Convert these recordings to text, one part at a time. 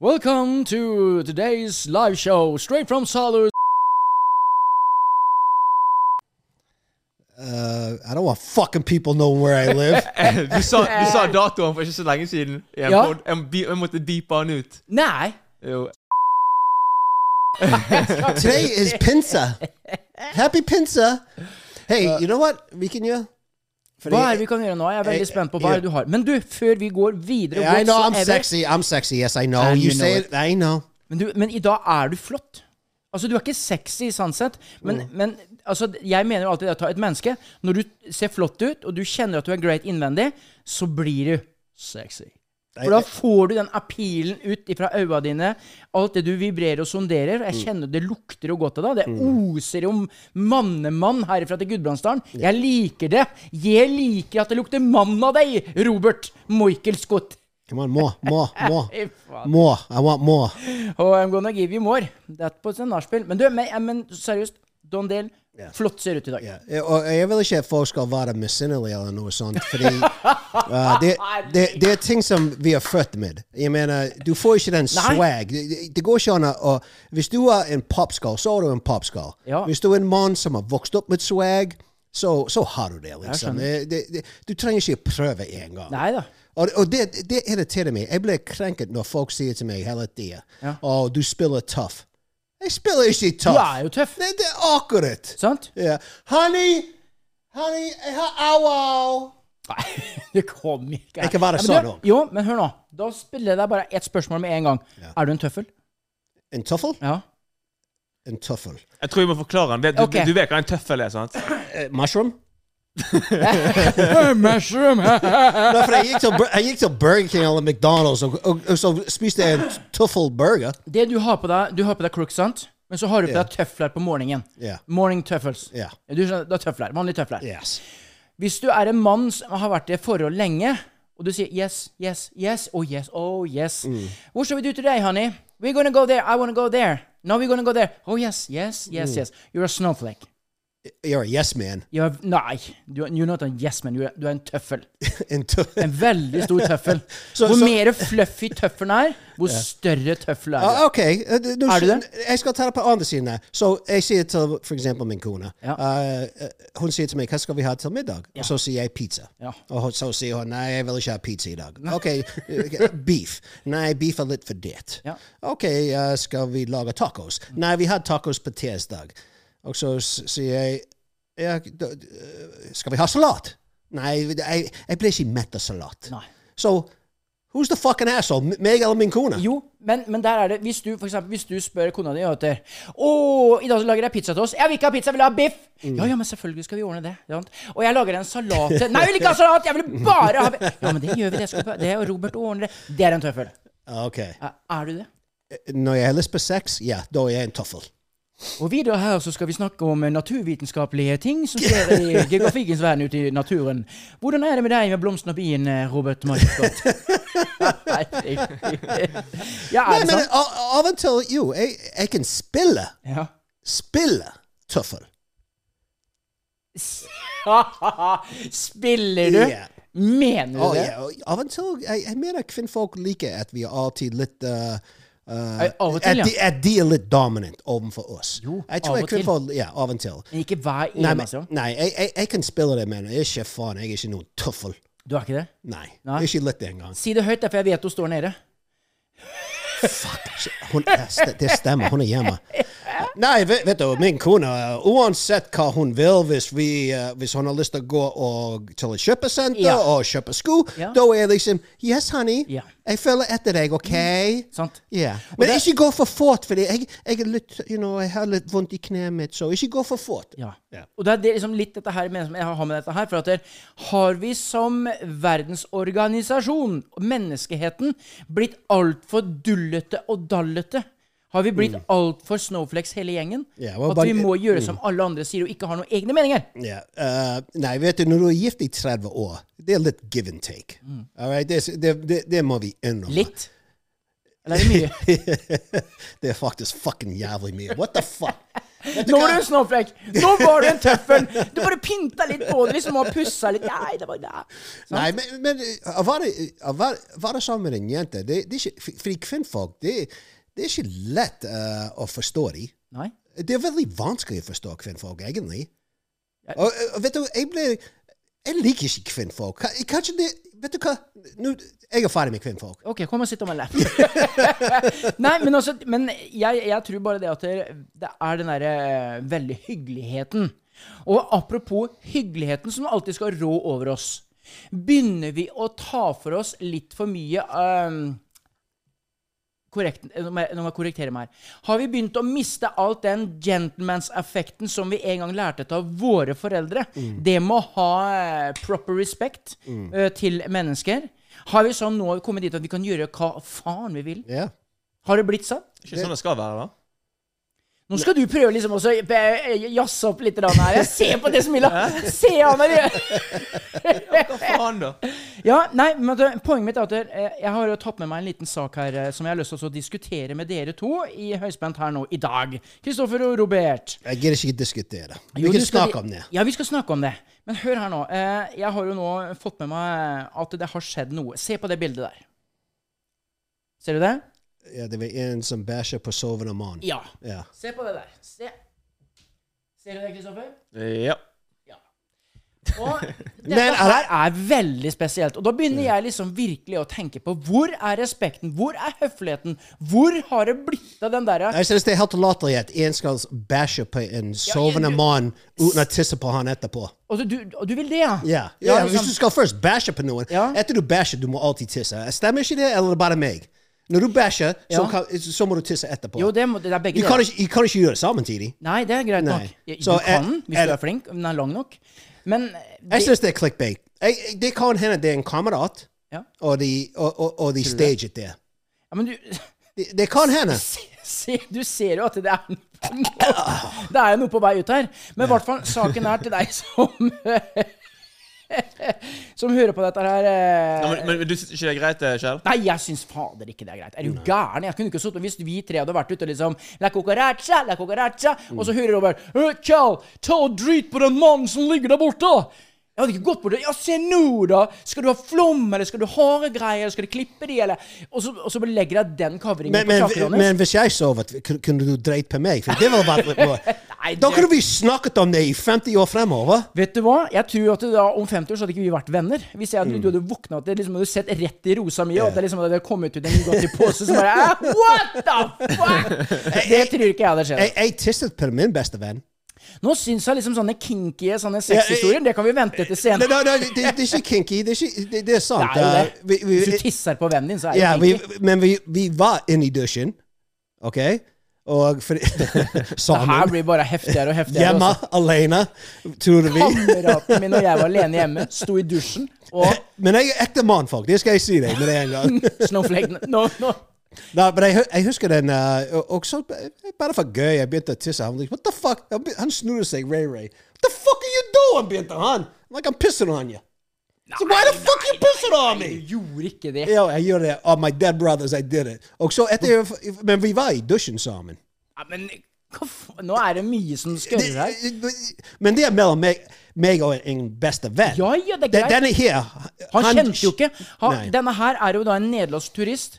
Welcome to today's live show, straight from Salus. Uh, I don't want fucking people knowing where I live. Eh, Du sa, du sa datoen for ikke så lenge siden. i en Eh. Ja. pod. Jeg, bi- jeg måtte beepe han ut. Nei! Jo. Today is Pinsa. Happy Pinsa. Hey, Uh, you know what? Vi kan gjøre Hva er det vi kan gjøre nå? Jeg er veldig Eh, spent på hva er det du har. Men du, før vi går videre I know I'm whatsoever- sexy. I'm sexy. Yes, I know. And you you know say it. it. I know. Men, du, men i dag er du flott. Altså, du er ikke sexy i sånn sett, men, men altså, jeg mener jo alltid det at et menneske Når du ser flott ut, og du kjenner at du er great innvendig, så blir du sexy. For da får du den appealen ut ifra øynene dine, alt det du vibrerer og sonderer. og Jeg kjenner det lukter jo godt av deg. Det oser jo mannemann herifra til Gudbrandsdalen. Jeg liker det. Jeg liker at det lukter mann av deg, Robert Michael Scott. Come on, more, more, more. Fy faen. More. I want more. Oh, I'm gonna give you more. That was a nachspiel. Men du, men, ja, men seriøst, Don Dale, flott ser ut i dag. Eh, Og jeg vil ikke at folk skal være misunnelige eller noe sånt, fordi eh, det, det, det er ting som vi er født med. Jeg mener, du får ikke den swag. Det, det- det går ikke an å å- Hvis du er en popskall, så er du en popskall. Ja. Hvis du er en mann som har vokst opp med swag, så, så har du det, liksom. Det, det, det, du trenger ikke prøve engang. Nei da. Og, og det, det irriterer meg. Jeg blir krenket når folk sier til meg hele tida Ja. Å, du spiller tøff. Jeg spiller ikke Du tøff. er jo tøff. Det, det er akkurat. Sant? Ja. Honey, honey, eh, jeg har au-au. Nei, det kom ikke her. Jeg kan Ja, være men sånn du, også. Jo, men hør nå. Da spiller jeg deg bare ett spørsmål med en gang. Er du en tøffel? En tøffel? Ja. En tøffel. Jeg tror jeg må forklare han. Det- Du, Ok. du, du vet hva en tøffel er, sant? Eh, mushroom? Mushroom! Nei, for jeg gikk, til, Bur- jeg gikk til Burger King eller McDonald's, og, og, og så spiste jeg en tøffel burger. det du har på deg, du har på deg crooks, sant? Men så har du på deg tøfler på morgenen. Ja. Morning tøffels. Ja. Du skjønner, det er tøfler. Vanlige tøfler. Yes. Hvis du er en mann som har vært i et forhold lenge, og du sier yes, yes, yes, oh yes, oh yes Mm. What should we do today, honey? We're gonna go there. I wanna go there. No, we're gonna go there. Oh yes, yes, yes, Mm. yes. You're a snowflake. You're a yes man. You're, nei, du, er- you're not a yes man. Du er, du er en tøffel. En tøff- En veldig stor tøffel. Så- hvor så- mer fluffy tøffelen er, hvor større tøffelen er. Ah, ok. Eh, du- du- Er du det? Jeg skal ta det på andre siden der. Så jeg sier til for eksempel min kone Ja. eh, eh, Hun sier til meg 'Hva skal vi ha til middag?' Og så sier jeg pizza. Ja. Og hun- så sier hun 'Nei, jeg vil ikke ha pizza i dag'. Ok, eh, Beef. Nei, beef er litt for dyrt. Ja. Mm. Ok, eh, skal vi lage tacos? Nei, vi har tacos på tirsdag. Og så s- sier jeg ja, da- eh, 'Skal vi ha salat?' Nei, jeg, jeg blir ikke mett av salat. Nei. Så who's the fucking asshole? M- Meg eller min kone? Jo, men, men der er det Hvis du, for eksempel, hvis du spør kona di og heter Å, i dag så lager jeg pizza til oss. Jeg vil ikke ha pizza, jeg vil ha biff! Ja, ja, men selvfølgelig skal vi ordne det. Ja. Og jeg lager en salat til Nei, jeg vil ikke ha salat! Jeg vil bare ha bi-» Ja, men det gjør vi, det skal vi Det og Robert ordner det. Det er en tøffel. Ok. Er, er du det? Når jeg har lyst på sex, ja, da er jeg en tøffel. Og videre her så skal vi snakke om eh, naturvitenskapelige ting som skjer i geografiens verden ute i naturen. Hvordan er det med deg med blomstene og bien, eh, Robert Markskott? ja, Nei, er det men sant? av av og til Jo, jeg, jeg kan spille. Ja. Spille tøffel. Spiller du? Ja. Mener du Å, det? ja, og Av og til jeg, jeg mener kvinnfolk liker at vi er alltid litt eh, eh, Av og til, at, ja. de, at de er litt dominant overfor oss. Jo, jeg av tror jeg og til. kvinnfolk, ja, av og til. Men ikke hver Nei, men- eneste? gang? nei jeg, jeg, jeg kan spille det, men jeg er ikke faen. Jeg er ikke noen tøffel. Du har ikke det? Nei. Nei. Ikke litt engang. Si det høyt, da, for jeg vet hun står nede. Hun- Det st- det stemmer. Hun er hjemme. Nei, vet, vet du, min kone eh, Uansett hva hun vil, hvis, vi, eh, hvis hun har lyst til å gå og, til et kjøpesenter Ja. og kjøpe sko, Ja. da er jeg liksom Yes, honey. Ja. Mm. Jeg følger etter deg, OK? Sant? Ja. Og Men det- ikke gå for fort, for jeg, jeg, er litt, you know, jeg har litt vondt i kneet mitt, så ikke gå for fort. Ja. Ja. Og det er det liksom litt dette her mener som jeg har med dette her. For at der, har vi som verdensorganisasjon, menneskeheten, blitt altfor dullete og dallete? Har vi blitt altfor snowflakes hele gjengen? Mm. Ja, og at bare- Mm. vi må gjøre som alle andre sier, og ikke har noen egne meninger? Ja, eh, nei, vet du, når du er gift i 30 år, det er litt give and take. Mm. All right? det, det, det, det må vi innrømme. Litt? Eller er det mye? det er faktisk fucking jævlig mye. What the fuck? Vet Nå er var hva? du en snowflake! Nå var du en tøffel! Du bare pynta litt på det liksom, og pussa litt. Nei, det var ja. Nei, men, men eh, å være, å være, å være sammen med en jente er det, det er ikke, Fordi kvinnfolk, det, det er ikke lett eh, å forstå dem. Nei? Det er veldig vanskelig å forstå kvinnfolk, egentlig. Jeg- Og, og vet du, jeg ble Jeg liker ikke kvinnfolk. Ka- Kanskje det Vet du hva? Nå, jeg er ferdig med kvinnfolk. Ok, kom og sitt om en lapp. Nei, men, altså, men jeg, jeg tror bare det at det, det er den derre eh, veldig hyggeligheten. Og apropos hyggeligheten som alltid skal rå over oss. Begynner vi å ta for oss litt for mye ehm, korrekt, eh, nå må jeg nå må jeg korrektere meg her. Har vi begynt å miste alt den gentlemans-effekten som vi en gang lærte av våre foreldre? Det med å ha eh, proper respect eh, til mennesker. Har vi sånn nå kommet dit at vi kan gjøre hva faen vi vil? Ja. Har det blitt sånn? Ikke sånn det skal være, da. Nå skal du prøve liksom også eh, jazze opp litt grann her. Jeg ser på det smilet! Se han her! Hva faen, da? Ja, nei, men det- Poenget mitt er at eh, jeg har jo tatt med meg en liten sak her eh, som jeg har lyst til å så diskutere med dere to i høyspent her nå i dag. Kristoffer og Robert. Jeg gidder ikke diskutere. Vi Jo, kan du skal- snakke om det. Ja, vi skal snakke om det. Men hør her nå. eh, Jeg har jo nå fått med meg eh, at det har skjedd noe. Se på det bildet der. Ser du det? Ja, det var en som bæsjer på sovende mann. Ja. Ja. Se på det der. Se. Ser du det, Kristoffer? Ja. Og dette Men er her det- er veldig spesielt. Og da begynner jeg liksom virkelig å tenke på hvor er respekten, hvor er høfligheten, hvor har det blitt av den derre Jeg synes det er helt latterlig at en skal bæsje på en sovende du- mann uten å tisse på han etterpå. Og du, du, og du vil det, ja? Ja, Ja, ja, liksom. Hvis du skal først bæsje på noen, Ja. etter du bæsjer, du må alltid tisse. Stemmer ikke det, eller er det bare meg? Når du bæsjer, så, Ja. kan, så må du tisse etterpå. Jo, det, må, det er begge du, kan ikke, du kan ikke gjøre det samtidig. Nei, det er greit Nei. nok. Du Så er- kan, hvis er du det- er flink, om den er lang nok. Men eh, det, Jeg synes det er clickbait. Jeg, jeg- det kan hende det er en kamerat, ja. og de, og, og, og de staget det. ja, men du det. Det kan hende. se, se, Du ser jo at det er noe Det er jo noe på vei ut her. Men i hvert fall, saken er til deg som Som hører på dette her. eh, Nei, men, men du syns ikke det er greit, eh, Kjell? Nei, jeg syns fader ikke det er greit. Er du gæren? Jeg kunne ikke sittet Hvis vi tre hadde vært ute og liksom La cucaracha, la cucaracha, og Mm. så hører Robert «Ø, Kjell, ta og drit på den mannen som ligger der borte! Jeg hadde ikke gått på det. Ja, se nå, da! Skal du ha flom, eller skal du haregreier, skal du klippe de, eller Og så, og så bare legger jeg den coveringen Men, på men, sjakken hans. men hvis jeg sovet, kun- kunne du dreit på meg? For det ville vært litt more. Nei, Da det- kunne vi snakket om det i 50 år fremover. Vet du hva? Jeg tror at da, om 50 år så hadde ikke vi vært venner. Hvis jeg Mm. hadde, du hadde våkna til liksom, hadde sett rett i rosa mi, og at det liksom hadde kommet ut en nygodt i pose, så bare «Æ, What the fuck?! Det tror ikke jeg hadde skjedd. Jeg, jeg tisset på min beste venn. Nå syns jeg liksom sånne kinky sånne sexhistorier, det kan vi vente til Nei, senere. nei, nei, det, det er ikke kinky. Det er, ikke, det, det er sant. Det er jo Uh, det. vi- Hvis vi- du tisser på vennen din, så er Ja, det vi, kinky. men vi, vi var inne i dusjen, OK? Og for, Det her sammen. blir bare heftigere og heftigere. Hjemme, også. alene, tror vi. Kameraten min og jeg var alene hjemme, sto i dusjen, og Men jeg er ekte mannfolk, det skal jeg si deg med en gang. snowflakene no, no. Nei, men jeg, hu- jeg husker den eh, og- og så Bare for gøy, jeg begynte å tisse. Han like, what the fuck? Han be- Han snudde seg, Ray Ray. What the fuck are you doing, begynte han. I'm like, I'm pissing on you. so why the fuck you pissing on me? Du gjorde ikke det. Ja, jeg gjorde det. Oh, my dead brothers, I did it. Og så etter, men vi var i dusjen sammen. Ja, men hva faen? Nå er det mye som Det, skurrer her. men det er mellom meg, meg og en beste venn. Ja, ja, det er Den- greit. Denne her Han, kjente jo ikke. Han, Nei. denne her er jo da en nederlandsk turist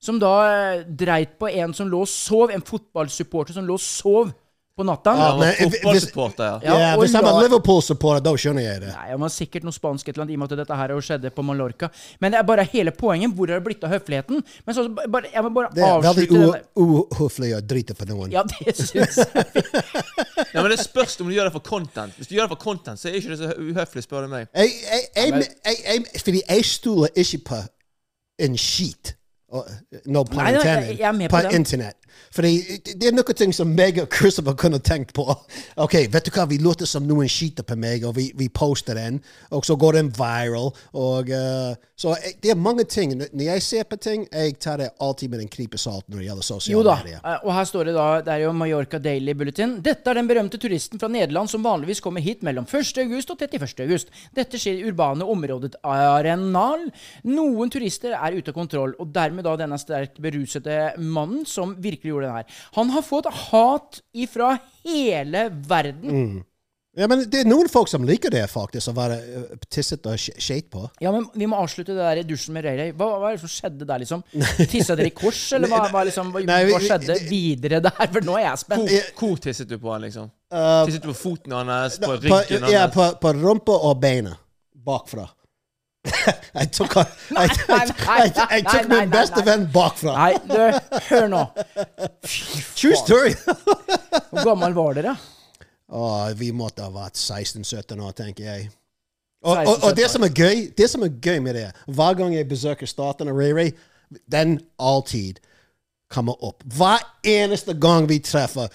som da eh, dreit på en som lå og sov. En fotballsupporter som lå og sov på natta. Ja, Han men- var fotballsupporter, ja. Ja, Ja, og hvis han la- var Liverpool-supporter, da skjønner jeg det. Nei, han var sikkert noe spansk et eller annet, i og med at dette her jo skjedde på Mallorca. Men det er bare hele poenget. Hvor har det blitt av høfligheten? Men så, bare, jeg må bare Det er avslutte veldig den der. u- uhøflig å drite på noen. Ja, det syns jeg. ja. Men det spørs om du gjør det for content. Hvis du gjør det for content, så er ikke det så uhøflig, spør du meg. Jeg, jeg, jeg, jeg, jeg, fordi jeg stoler ikke på en skit. Og- Nå på Nei, nei, jeg- jeg er internett. med På på den. internett. Fordi det er noen ting som meg og Christopher kunne tenkt på. Ok, vet du hva, vi låter som noen skiter på meg, og vi, vi poster den, og så går den viral. Og, eh, så jeg, det er mange ting. Når jeg ser på ting, jeg tar det alltid med en klype salt når det gjelder Jo sosiale da. medier. eh, Og her står det da, det er jo Mallorca Daily Bulletin. Dette er den berømte turisten fra Nederland som vanligvis kommer hit mellom 1. august og 31. august. Dette skjer i urbane området Arenal. Noen turister er ute av kontroll, og dermed da denne sterkt berusede mannen som virkelig gjorde den her. Han har fått hat ifra hele verden. Ja, men det er noen folk som liker det, faktisk, å være eh, tisset og sk- skjeit på. Ja, men Vi må avslutte det der i dusjen med Ray Ray. Hva, hva er det som skjedde der, liksom? Tissa dere i kors, eller hva, hva, liksom, hva, Nei, vi- hva skjedde det- videre der? For nå er jeg spent. Hvor, hvor tisset du på han, liksom? tisset du på foten hans? På Eh, på, ryggen hans? ja, på, på rumpa og beina. Bakfra. jeg tok, jeg, jeg, jeg, jeg nei, tok nei, min beste nei. venn bakfra. Nei, du, hør nå. True story! Hvor gammel var dere? Å, vi måtte ha vært 16-17 år, tenker jeg. Og, og, og det, som er gøy, det som er gøy med det, hver gang jeg besøker staten og Ray-Ray, den alltid kommer opp. Hver eneste gang vi treffer.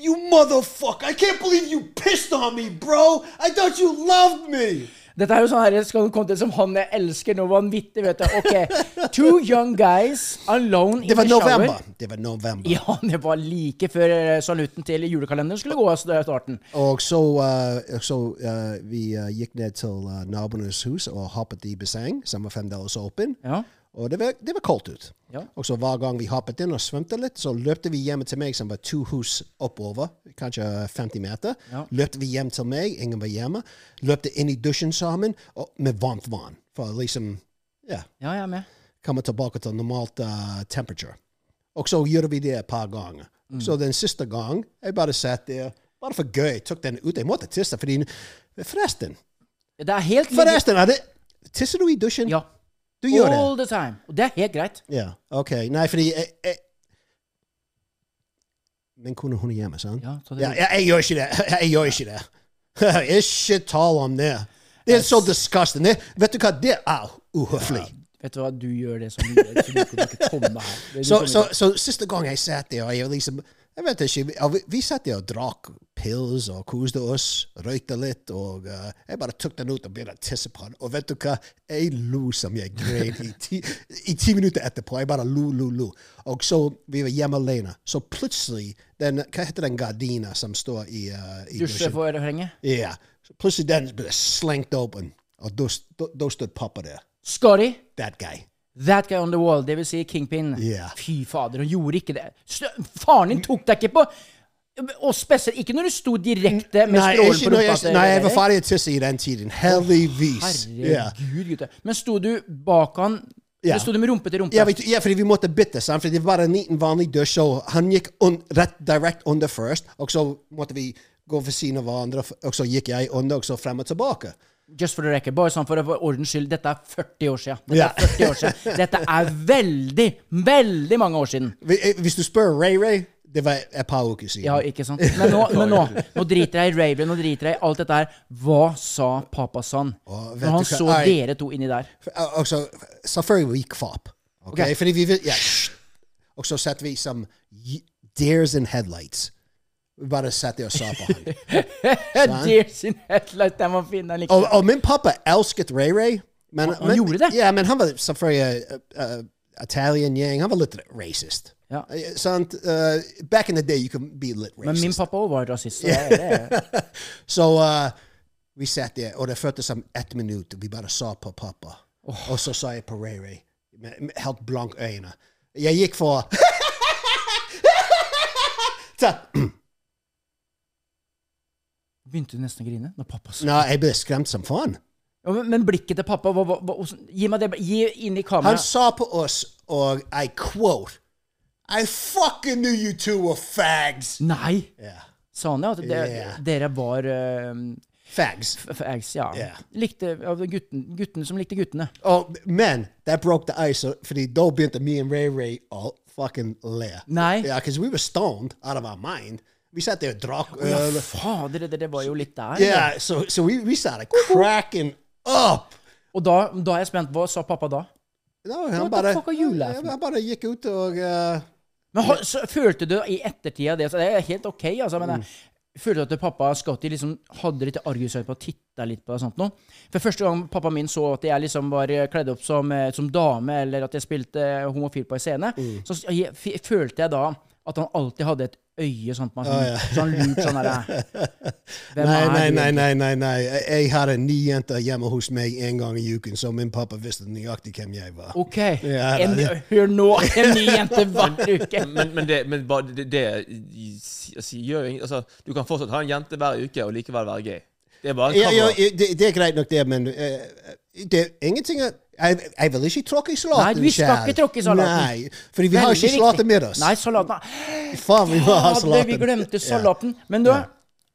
You motherfucker! I can't believe you pissed on me, bro! I thought you loved me! Dette er jo sånn her, skal content som han jeg elsker noe vanvittig, vet du. Ok, Two young guys alone Det in var the november. shower. Det var november. Ja, det var like før eh, salutten til julekalenderen skulle gå. Altså, det er starten. Og så, eh, og så eh, vi eh, gikk ned til eh, naboenes hus og hoppet i basseng, som var fremdeles åpen. Ja. Og det var, det var kaldt ut. Ja. Og så hver gang vi hoppet inn og svømte litt, så løpte vi hjem til meg, som var to hus oppover, kanskje 50 meter. Ja. Løpte vi hjem til meg, ingen var hjemme. Løpte inn i dusjen sammen og, med varmt vann, for å liksom ja, Ja, jeg er med. komme tilbake til normalt eh, temperature. Og så gjorde vi det et par ganger. Mm. Så den siste gang, jeg bare satt der, bare for gøy, tok den ut. Jeg måtte tisse, fordi Forresten, Det er helt forresten, er det Tisser du i dusjen? Ja. Du gjør det? All the time. Og det er helt greit. Ja, OK. Nei, fordi jeg, jeg Min kone, hun er hjemme, sant? Ja, så det- ja, jeg, jeg gjør ikke det. Jeg gjør ikke det. ikke tale om det. Det er så disgusting. Det, vet du hva, det er uhøflig. Vet du hva, du gjør det som du gjør, så du kan ikke komme her. Du Så, kan så, ikke- så siste gang jeg satt der, og jeg liksom jeg vet ikke, vi- ja, vi, vi satt der og drakk pils og koste oss, røykte litt, og eh, jeg bare tok den ut og begynte å tisse på den. Og vet du hva? Jeg lo som jeg grein i ti, i ti minutter etterpå. Jeg bare lo, lo, lo. Og så vi var hjemme alene. Så plutselig den, Hva heter den gardina som står i, eh, i Dusje dusjen? for refrenget. Ja. Så plutselig den ble slengt åpen, og da st- da stod pappa der. Scotty, That guy. that guy on the wall, det vil si Kingpin. Yeah. Fy fader, han gjorde ikke det. Stø- Faren din tok deg ikke på Og spesielt ikke når du sto direkte med Nei, strålen ikke på når rumpa. jeg, til- nei, jeg var ferdig å tisse i den tiden. Heldigvis. Ja. Herregud, gutter. Men sto du bak han? Ja. Sto du med rumpe til rumpe? Ja, vi- ja, fordi vi måtte bytte, sant? fordi det var en liten vanlig dusj, og han gikk un, rett direkte under først, og så måtte vi gå ved siden av hverandre, og så gikk jeg under, og så frem og tilbake. Just for the record, bare sånn for for ordens skyld, dette er 40 år siden. Dette, Ja. er 40 år siden. dette er veldig, veldig mange år siden. Hvi- eh, Hvis du spør Ray Ray, det var et par uker siden. Ja, ikke sant. Men nå, men nå, nå driter jeg i Raven, nå driter jeg i alt dette her. Hva sa pappa sann? Å, vet Når han du hva? så Nei. dere to inni der. eh, Og- Og så, selvfølgelig vi kvapp. ok? Ok. Fordi vi vil, ja. Og så satt vi som y- deers in headlights. Vi bare satt der og sa på han. Dear sin headlight, den var fin. Den likte Oh, Og, og min pappa elsket Ray Ray. Men, Oh, Han- han men, gjorde det? Ja, men han var selvfølgelig eh, eh, Italian yang. Han var litt racist. Ja. Eh, Sant? Eh, back in the day, you could be litt racist. Men min pappa òg var rasist. Så det, det, er- Så eh, vi satt der, og det føltes som ett minutt. Vi bare sa på pappa. Oh. Og så sa jeg Perere, med, med helt blanke øyne. Jeg gikk for Så- Begynte du nesten å grine når pappa sa Nei, jeg ble skremt som faen. ja, men, men blikket til pappa hva, hva, hva, hvordan- Gi meg det Gi inn i Han kameraet. sa på oss, og I quote I fucking knew you two were fags! Nei! Ja. Sa han det? At det, Yeah. dere var eh, Fags. f- f- eggs, ja. Yeah. Likte ja, gutten, guttene som likte guttene. Og, men oh, that broke the ice, og- fordi da begynte me and Ray Ray å fucking le. Nei. Ja, because we were stoned out of our mind. Vi satt der og drakk Ja, øl. fader, det, det var jo litt der. Yeah, so so we, we started cracking up. Og da, da er jeg spent. Hva sa pappa da? No, What the han bare, fuck are you laughing han, han bare gikk ut og eh, Men har, så, følte du i ettertid av det så Det er helt OK, altså. Men jeg, Mm. følte du at pappa Scotty liksom hadde litt argusøyne på og titta litt på det og sånt noe? For første gang pappa min så at jeg liksom var eh, kledd opp som, eh, som dame, eller at jeg spilte eh, homofil på en scene, Mm. så s- jeg, f følte jeg da at han alltid hadde et øye sånn på meg. Sånn, sånn lurt sånn derre Hvem Nei, nei, du nei, egentlig? nei, nei, nei. Jeg- Jeg hadde ni jenter hjemme hos meg en gang i uken, så min pappa visste nøyaktig hvem jeg var. OK. Ja, en, nei, det- hør nå! En ny jente hver uke. Men, men, det, men bare det, det i- si- si- gjør jo ingen altså, Du kan fortsatt ha en jente hver uke og likevel være gay. Det er bare en Ja, ja, kamera. det, det er greit nok, det, men eh, det er ingenting å- Jeg, jeg vil ikke tråkke i Nei, salaten. vi skal kjære. ikke tråkke i salaten. Nei, fordi vi har Veldig ikke viktig. salaten med oss. Nei, salaten. Faen, vi må ha Hadde salaten. vi glemte salaten. Men du,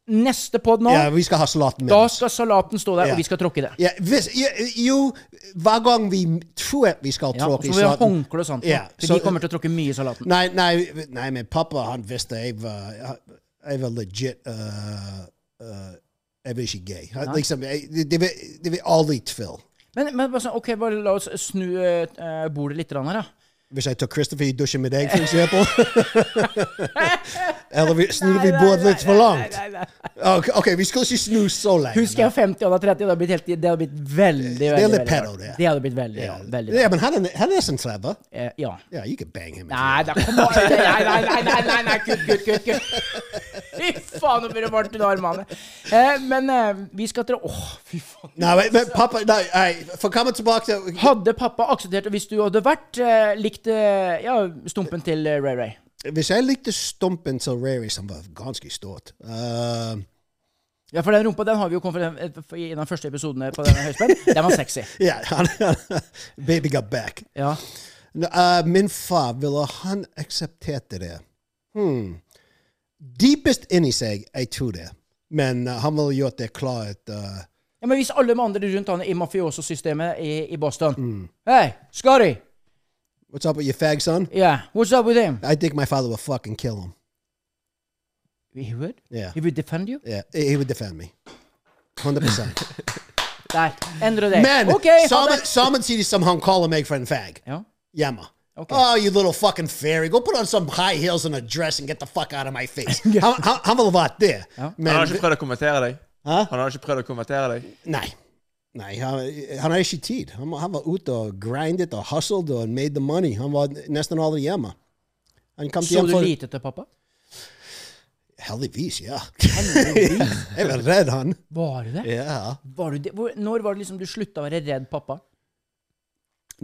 neste pod nå, Ja. ja, vi skal ha salaten med da oss. skal salaten stå der, Ja. og vi skal tråkke i det. Ja, hvis, ja, jo, hver gang vi tror at vi skal Ja, og tråkke så i må vi ha salaten håndkle og sånt. nå, Ja, For så- de kommer til å tråkke mye i salaten. Nei, nei, nei, men pappa han visste jeg var Jeg var legit uh, uh, Jeg var ikke gay. Han- Liksom, jeg, det, det, var- det var aldri tvil. Men, men bare sånn, ok, bare la oss snu eh, bordet litt grann her, da. Hvis jeg tok Christopher i dusjen med deg, for eksempel. Eller vi- snur vi bordet litt for Oh, langt? Ok, ok, vi skal ikke snu så lenge. Husker jeg 50, og han er 30, og det hadde blitt, helt, det hadde blitt veldig, veldig Det er litt veldig pedo, rart. det. Det hadde blitt veldig, ja. Ja, Veldig ja men han er, han er som Trevor. Eh, ja. Ja, you can bang him. if you Nei, da, kom an. Nei, nei, nei, nei, nei, nei, kutt, kutt, kutt. kutt. Fy faen, nå blir det varmt under armene. Eh, men eh, vi skal til Åh, fy faen. Nei, men, men pappa nei, nei, For å komme tilbake til Hadde pappa akseptert det hvis du hadde vært eh, likt eh, ja, stumpen til eh, Ray Ray? Hvis jeg likte stumpen til Rary, som var ganske stort eh, Ja, for den rumpa den har vi jo konfirmert i den første episoden på denne høyspenn. Den var sexy. Ja, han, baby got back. Ja. Nå, eh, min far, ville han akseptert det? Hmm. Dypest inni seg, jeg tror det. Men eh, han ville gjort det klart. eh, ja, Men hvis alle de andre rundt han i mafioso-systemet i, i Boston Mm. Hey, Scotty! what's up with your fag, son? Yeah, what's up with him? I think my father would fucking kill him. He would? Yeah. He would defend you? Yeah, he he would defend me. 100%. Der. Endre det. Men OK, ha samen, det. samen sier de som han kaller meg for en fag. Ja. Yama. Okay. Oh, you little fucking fairy. Go put on some high heels and a dress and get the fuck out of my face. han, han, han ville vært det. Han Men har ikke prøvd å konvertere deg. Hæ? Han har ikke prøvd å konvertere deg. Nei. Nei, han, han har ikke tid. Han, han var ute og grindet og hustled og made the money. Han var nesten aldri hjemme. Han kom Så hjem du for lite til pappa? Heldigvis, ja. Heldigvis. Jeg var redd han. Var du det? Ja. Var du det? Hvor, når var det liksom du slutta å være redd pappa?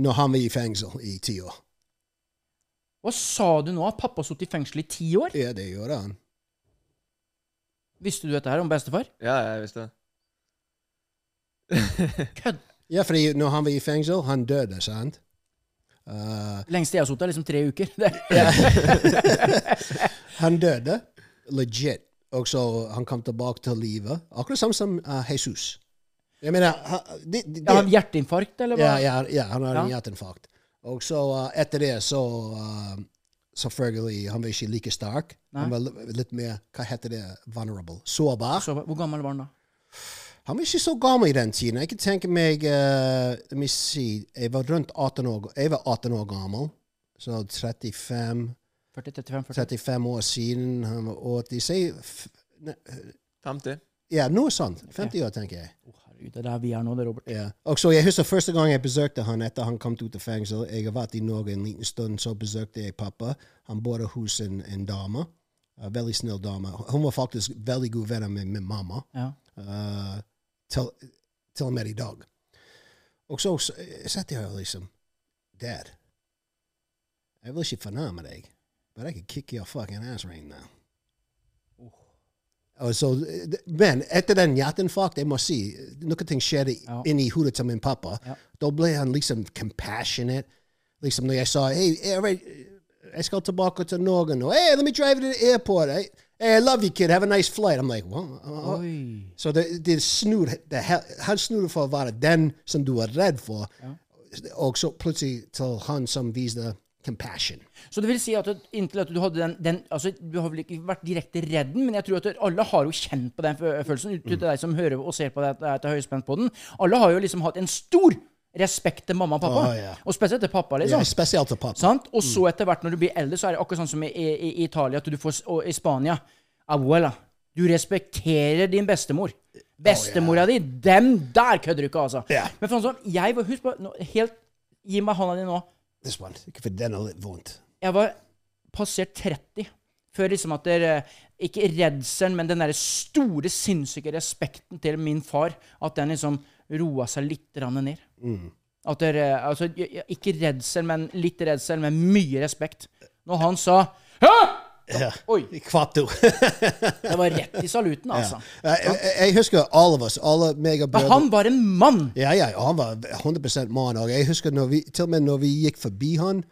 Når han var i fengsel i ti år. Hva sa du nå? At pappa har sittet i fengsel i ti år? Ja, det gjorde han. Visste du dette her om bestefar? Ja, jeg visste det. Kødd! Ja, fordi når han var i fengsel, han døde, sant? Eh, Lengste jeg har sittet, er liksom tre uker. Det. han døde legit, og så han kom tilbake til livet. Akkurat samme som eh, Jesus. Jeg mener, han, det, det, Ja, han hjerteinfarkt, eller hva? Ja, ja, ja, han har en Ja. hjerteinfarkt. Og så eh, etter det så eh, Selvfølgelig, han var ikke like sterk. Han var li- litt mer Hva heter det? Vulnerable. Sårbar. Så, hvor gammel var han da? Han var ikke så gammel i den tiden. Jeg kan tenke meg eh, Let me see. Jeg var rundt 18 år, jeg var 18 år gammel. Så 35 40, 35, 40? 35 år siden. Han var 80 Si f- ne- 50. Ja, noe sånt. 50 år, tenker jeg. Å, herregud. Det er der vi er nå, det, Robert. Ja. Og så jeg husker første gang jeg besøkte han etter han kom ut av fengsel. Jeg har vært i Norge en liten stund, så besøkte jeg pappa. Han bodde hos en, en dame. En veldig snill dame. Hun var faktisk veldig god venn med min mamma. Ja. eh, til, til og med i dag. Og så s- satt jeg og liksom Dad, jeg vil ikke fornærme deg, but I could kick your fucking ass right now. Oh, uh, Og så, men etter den hjerteinfarkt, jeg må si, noen ting skjedde Ja. inni hodet til min pappa. Ja. Da ble han liksom compassionate. Liksom når jeg sa hey, uh, jeg, jeg skal tilbake til Norge nå. Hey, let me drive you to the airport. Hey, hey, I love you, kid. Have a nice flight. I'm like, well, uh, uh." Oi. Så det, det snur, det, he- han snur for å være den som du er redd for, og så plutselig til han som viser compassion. Så det vil si at du- inntil at du hadde den, den altså, Du har vel ikke vært direkte redd den, men jeg tror at alle har jo kjent på den fø- følelsen, ut til deg som hører og ser på deg at jeg er til høyspent på den. Alle har jo liksom hatt en stor respekt til mamma og pappa. Å, ja. Og spesielt til pappa, Ja, liksom. spesielt til pappa. Sant? Og så etter hvert, når du blir eldre, så er det akkurat sånn som i, i, i Italia at du får, s- og i Spania. Abuela. Du respekterer din bestemor. Bestemora di, dem der kødder du ikke, altså. Ja. Men for sånn som jeg var, husk på, nå, helt, gi meg hånda di nå. This one. For den er litt vondt. Jeg var passert 30. Før liksom at der, eh, Ikke redselen, men den derre store, sinnssyke respekten til min far, at den liksom roa seg litt grann ned. At der, eh, altså, j- j- ikke redsel, men litt redsel, men mye respekt. Når han sa Hæ! Oi! Kvapp du. Det var rett i saluten, altså. Jeg, jeg, jeg husker alle av oss, alle meg og Men brødre. han var en mann! Ja, ja, han var 100 mann. Og jeg husker når vi, til og med når vi gikk forbi han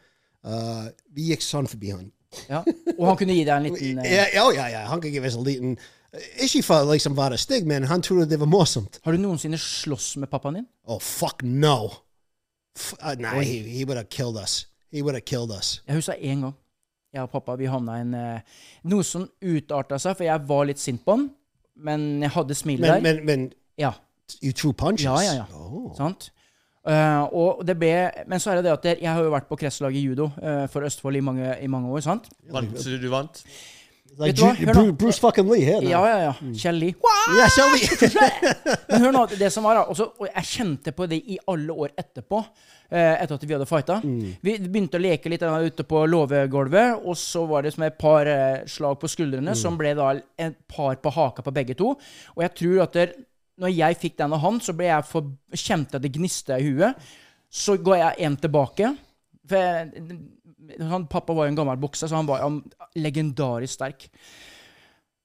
eh, Vi gikk sånn forbi han. Ja. Og han kunne gi deg en liten eh, Ja, ja, ja, ja. Han kan gi oss en liten eh, Ikke for å liksom være stygg, men han trodde det var morsomt. Har du noensinne slåss med pappaen din? Oh, fuck no! F uh, nah, he, he would have killed us. He would have killed us. Jeg husker én gang. Jeg og pappa vi havna i en eh, Noe som utarta seg, for jeg var litt sint på han. Men jeg hadde smilet der. Men, men, men ja. you threw punches? ja, ja, ja. Oh. Sant? Eh, og det ble, men så er det det at jeg har jo vært på kretslaget i judo eh, for Østfold i mange, i mange år. sant? Vant, så du vant? Like Vet du hva? Ju- Hør nå. Bruce, Bruce fucking Lee her. Ja, now. ja, ja. Kjell Lie. Ja, Shelby! Men hør nå, det som var da, også, og jeg kjente på det i alle år etterpå, eh, etter at vi hadde fighta. Vi begynte å leke litt eh, ute på låvegulvet, og så var det som et par eh, slag på skuldrene, som ble da et par på haka på begge to. Og jeg tror at der, når jeg fikk den av han, så ble jeg for, kjente jeg det gniste i huet. Så går jeg en tilbake. For jeg, han, pappa var jo en gammel bokser, så han var jo legendarisk sterk.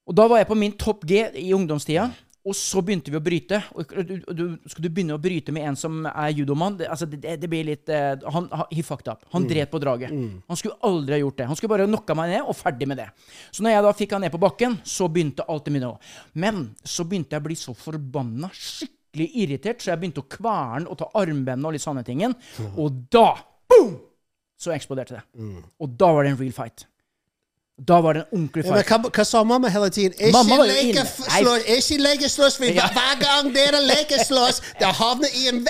Og da var jeg på min topp G i ungdomstida. Og så begynte vi å bryte. Og du, du, skal du begynne å bryte med en som er judomann? Det, altså, det, det blir litt eh, han, han- He fucked up. Mm. Han dret på draget. Han skulle aldri ha gjort det. Han skulle bare knocka meg ned, og ferdig med det. Så når jeg da fikk han ned på bakken, så begynte alt det mine å Men så begynte jeg å bli så forbanna skikkelig irritert, så jeg begynte å kverne og ta armbåndene og litt sånne tingen. Og da boom! Så eksploderte det. Mm. Og da var det en real fight. Da var det en ordentlig Ja, men fight. hva, hva sa mamma hele tiden? Mamma var jo inne. Nei. Ikke lekeslåss! Ja. Hver gang dere lekeslåss, det havner i en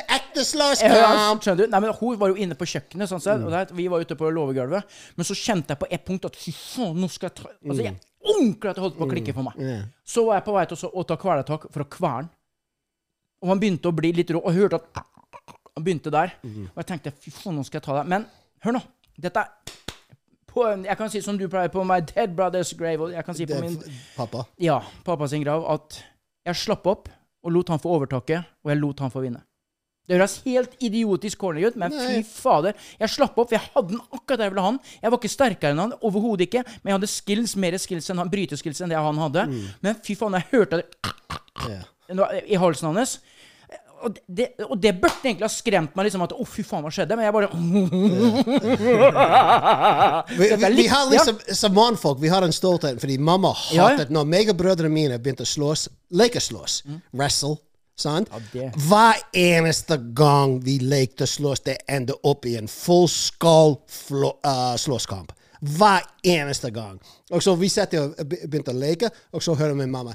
Ja, ekte slåsskamp! skjønner du? Nei, men Hun var jo inne på kjøkkenet, sånn sett, og der, vi var ute på låvegulvet. Men så kjente jeg på et punkt at fy faen, nå skal jeg ta Altså, jeg ordentlig at det holdt på å klikke for meg. Så var jeg på vei til å så- å ta kvelertak for å kverne. Og han begynte å bli litt rå, og jeg hørte at Han begynte der. Og jeg tenkte fy faen, nå skal jeg ta deg. Men hør nå. Dette er på, Jeg kan si som du pleier på My Dead Brothers Grave, og jeg kan si på min Pappa. ja, pappa sin grav at jeg slapp opp og lot han få overtaket, og jeg lot han få vinne. Det høres helt idiotisk corny ut, men fy fader. Jeg slapp opp, for jeg hadde den akkurat der jeg ville ha den. Jeg var ikke sterkere enn han, overhodet ikke, men jeg hadde skills, mer skills enn han, bryteskills enn det han hadde. Mm. Men fy faen, jeg hørte det Ja. i halsen hans. Og det, og det burde egentlig ha skremt meg, liksom at å, fy faen, hva skjedde? Men jeg bare Vi, Dette er vi, vi litt- har ja. liksom, Som mannfolk vi har en stolthet, fordi mamma Ja, ja. hatet Når meg og brødrene mine begynte å slåss, lekeslåss, Hm. wrestle sant? det- Hver eneste gang vi lekte slåss, det endte opp i en fullskål eh, slåsskamp. Hver eneste gang. Og så vi satt og be- begynte å leke, og så hører min mamma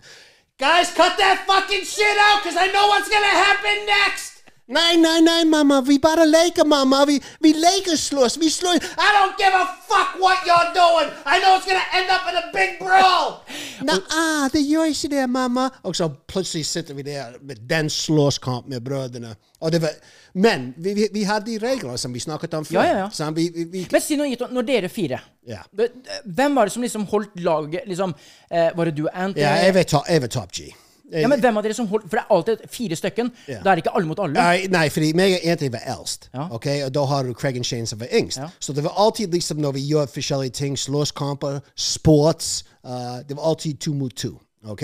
Guys, cut that fucking shit out, because I know what's gonna happen next! Nei, nei, nei, mamma. Vi bare leker, mamma. Vi, vi leker slåss. Vi slår I don't give a fuck what you're doing! I know it's gonna end up in a big brawl! Nei, det gjør ikke det, mamma. Og så plutselig sitter vi der med den slåsskamp med brødrene. Og det var, men vi, vi, vi hadde de reglene som vi snakket om før. Ja, ja, ja. sant? Vi, vi, vi, Men si noe gitt, når dere fire Ja. det- Hvem var det som liksom holdt laget liksom, eh, Var det du, Ant? ja, eller- jeg var top, jeg var top G. ja, men hvem av dere som holdt For det er alltid fire stykken. Ja. Da er det ikke alle mot alle. Nei, nei, fordi meg og Anthony var eldst. Ja. ok? Og da har du Craig og Shane som var yngst. Så det var alltid liksom når vi gjør forskjellige ting, slåsskamper, sports uh, Det var alltid to mot to. ok?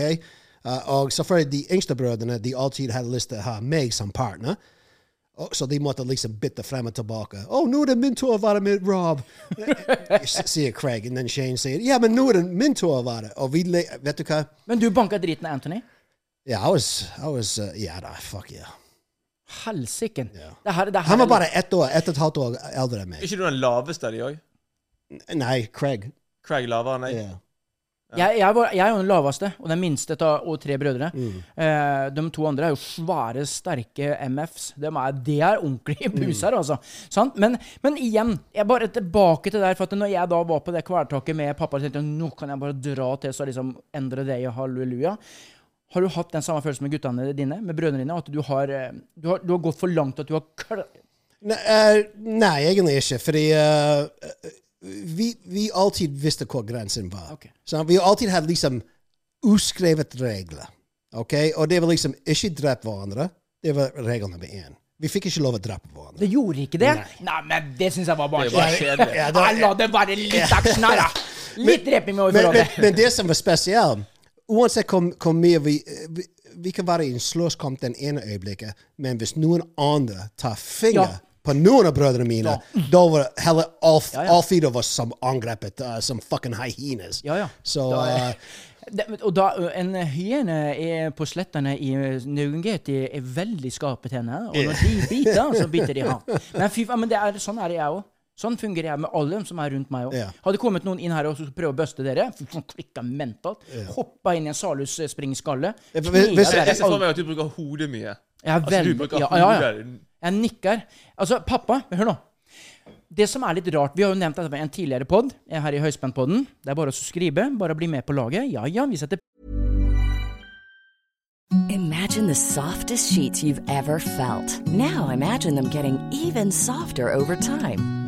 Uh, og selvfølgelig de yngste brødrene de alltid hadde lyst til å ha meg som partner. Oh, Og, så de måtte liksom bytte frem og tilbake. 'Å, nå er det min tur å være med Rob', s- sier Craig. Og then Shane sier 'Ja, men nå er det min tur å være'. Og vi le Vet du hva? Men du banka driten av Anthony. Ja, I was, I was uh, Ja da, fuck yeah. Helsiken. Det her- det her Han er var litt- bare ett år, ett og et halvt år eldre enn meg. Er ikke du den laveste av de òg? Nei, Craig. Craig lavere enn deg? Ja. Jeg, jeg, var, jeg er jo den laveste og den minste av og tre brødre. Mm. Eh, de to andre er jo svære, sterke MFs. De er, det er ordentlige buser, Mm. altså. Sant? Men, men igjen, jeg bare tilbake til der. For at når jeg da var på det kvelertaket med pappa, så tenkte jeg nå kan jeg bare dra til så liksom endre det i halleluja. Har du hatt den samme følelsen med guttene dine, med brødrene dine, at du har, eh, du har, du har gått for langt, at du har kl Nei, eh, nei, egentlig ikke, fordi eh, vi, vi alltid visste hvor grensen var. Ok. Så vi alltid hadde liksom uskrevet regler. ok? Og det var liksom ikke drepe hverandre. Det var regel nummer én. Vi fikk ikke lov å drepe hverandre. Det gjorde ikke det? Nei, men det syns jeg var Det barnslig. var kjedelig. Ja, da- Nei, La det være litt aksjon her, da! Litt dreping med Men, men, overforrådet. men det som var spesielt, uansett hvor, hvor mye vi, vi Vi kan være i en slåsskamp den ene øyeblikket, men hvis noen andre tar finger Ja. på noen av brødrene mine, da var det heller all, Ja, ja. all fire av oss som angrepet uh, som fucking hyenas. Ja, ja. Så Da er- uh, Det, men- og da, ø, En hyene er på slettene i ø, Naugeti er veldig skarpe tenner. Og når de biter, så biter de han. Men fy faen, men det er, sånn er det jeg òg. Sånn fungerer jeg med alle dem som er rundt meg òg. Ja. Hadde kommet noen inn her og skulle prøve å buste dere, fy faen, klikka mentalt, hoppa inn i en eh, Salus-springskalle Ja, for kniver hvis- hvis- dere Jeg ser i for meg at du bruker hodet mye. jeg er Altså, du veldig- bruker ja, ja, ja. hodet. Jeg nikker. Altså, pappa, men hør nå. Det som er litt rart Vi har jo nevnt dette i en tidligere pod, her i Høyspentpodden. Det er bare å skrive. Bare bli med på laget. Ja ja, vi setter Imagine the softest sheets you've ever felt. Now imagine them getting even softer over time.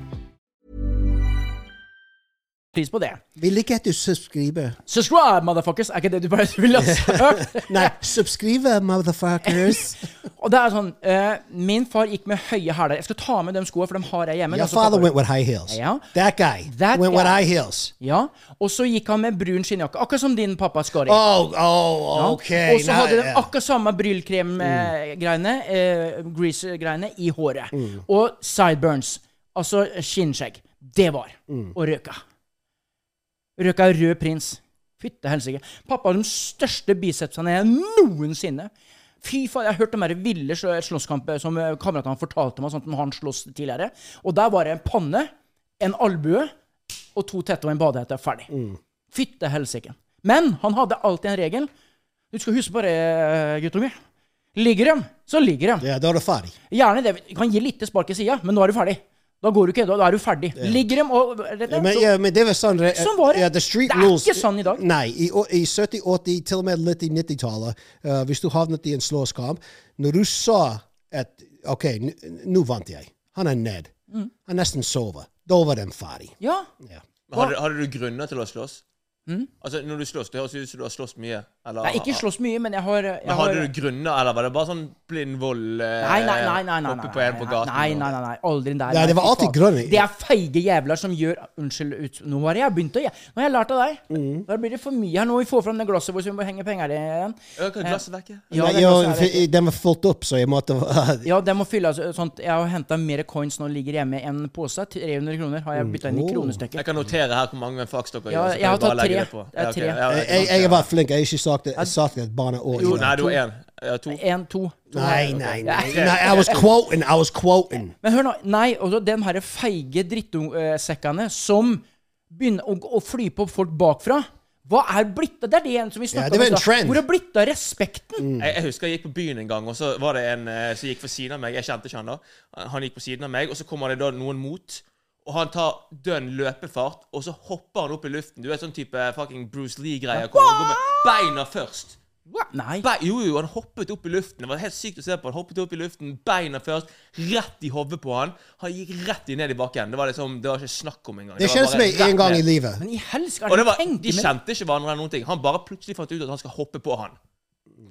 pris på det. vi liker at du subscriber. Subscribe, motherfuckers! Er ikke det du bare ville ha sagt? Nei, subscribe, motherfuckers. Og det er sånn eh, Min far gikk med høye hæler. Jeg skal ta med de skoene, for de har jeg hjemme. Your Og så pappa- father went with high heels. Ja. That guy That went with guy. high heels. Ja, Og så gikk han med brun skinnjakke, akkurat som din pappa Skari. Oh, oh, okay. Og så now- hadde de yeah. akkurat samme bryllkrem-greiene, eh, grease-greiene, i håret. Og sideburns, altså skinnskjegg. Det var å røyke. Røyka rød prins. Fytte helsike. Pappa har de største bicepsene jeg noensinne. Fy faen, Jeg har hørt de der ville slå- slåsskamper som eh, kameratene fortalte meg, sånn at han slåss tidligere. Og der var det en panne, en albue og to tette og en badehette. Ferdig. Fytte helsike. Men han hadde alltid en regel. Du skal huske på det, gutter mine. Ligger de, så ligger de. Ja, da er du ferdig. Gjerne det. Du kan gi lite spark i sida, men nå er du ferdig. Da går du ikke, da, da er du ferdig. Ligger de og Ja, men, ja, men det var sånn re- Sånn var det. Ja, the street Det er rules. ikke sånn i dag. Nei. I, å- i 70-, 80-, til og med litt i 90-tallet, eh, hvis du havnet i en slåsskamp Når du sa at OK, n- nå vant jeg. Han er ned. Mm. Han nesten sover. Da var den ferdig. Ja. Ja. Men hadde, hadde du grunner til å slåss? Altså, når du slåss, Det høres ut som du har slåss mye. Eller, Hmm? Nei, ikke slåss mye, men jeg har, jeg Men har hadde du grunner, eller var det bare sånn blind vold eh, Nei, nei, nei. nei, nei, nei, oppe på en nei, på nei, gaten? nei, nei, nei, nei, aldri der. Nei, det var fy alltid faen. grønn. Det er feige jævler som gjør Unnskyld, ut, nå har jeg begynt å Nå har jeg lært av deg. Mm. Da blir det for mye her. Nå må vi få fram det glasset hvor vi må henge penger i igjen. Ja, kan glasset vekke? Ja, Nei, det jo, glasset er for- den var fullt opp, så jeg måtte Ja, det må fylles eh, sånt. Jeg har henta mer coins nå ligger hjemme i en pose. 300 kroner har jeg bytta inn i Oh. Jeg kronestykket. kan notere her hvor mange fucks dere Ja, gjør. så kan jeg har bare tatt legge tre. det på. Det er Ja, ok. tre. Ja, Jeg, ikke jeg, sant, jeg ja. har vært flink. Jeg har ikke sagt det, sagt det et barneår. Jo, nei, du var én. Ja, to. En, to. Nei, nei, nei. nei I was quoting. I was quoting. Men hør nå. Nei, og så den herre feige drittsekkene som begynner å, å fly på folk bakfra. Hva er blitt av Det er det igjen som vi Ja, snakka det var en om. i stad. trend. Mm. Hvor er blitt av respekten? Jeg, jeg husker jeg gikk på byen en gang, og så var det en eh, som gikk ved siden av meg. Jeg kjente ikke han da. Han gikk på siden av meg, og så kommer det da noen mot. Og han tar dønn løpefart, og så hopper han opp i luften. Du er sånn type fucking Bruce Lee-greier. Kommer og går med beina først. Nei. Be jo, jo, han hoppet opp i luften. Det var helt sykt å se på. Han hoppet opp i luften, beina først, rett i hodet på han. Han gikk rett i ned i bakken. Det var liksom, det var ikke snakk om engang. Det var skjedde bare meg rett en gang i ned. livet. Men i helsike, Og er det det var, de tenkt men- kjente ikke hverandre eller noen ting. Han bare plutselig fant ut at han skal hoppe på han.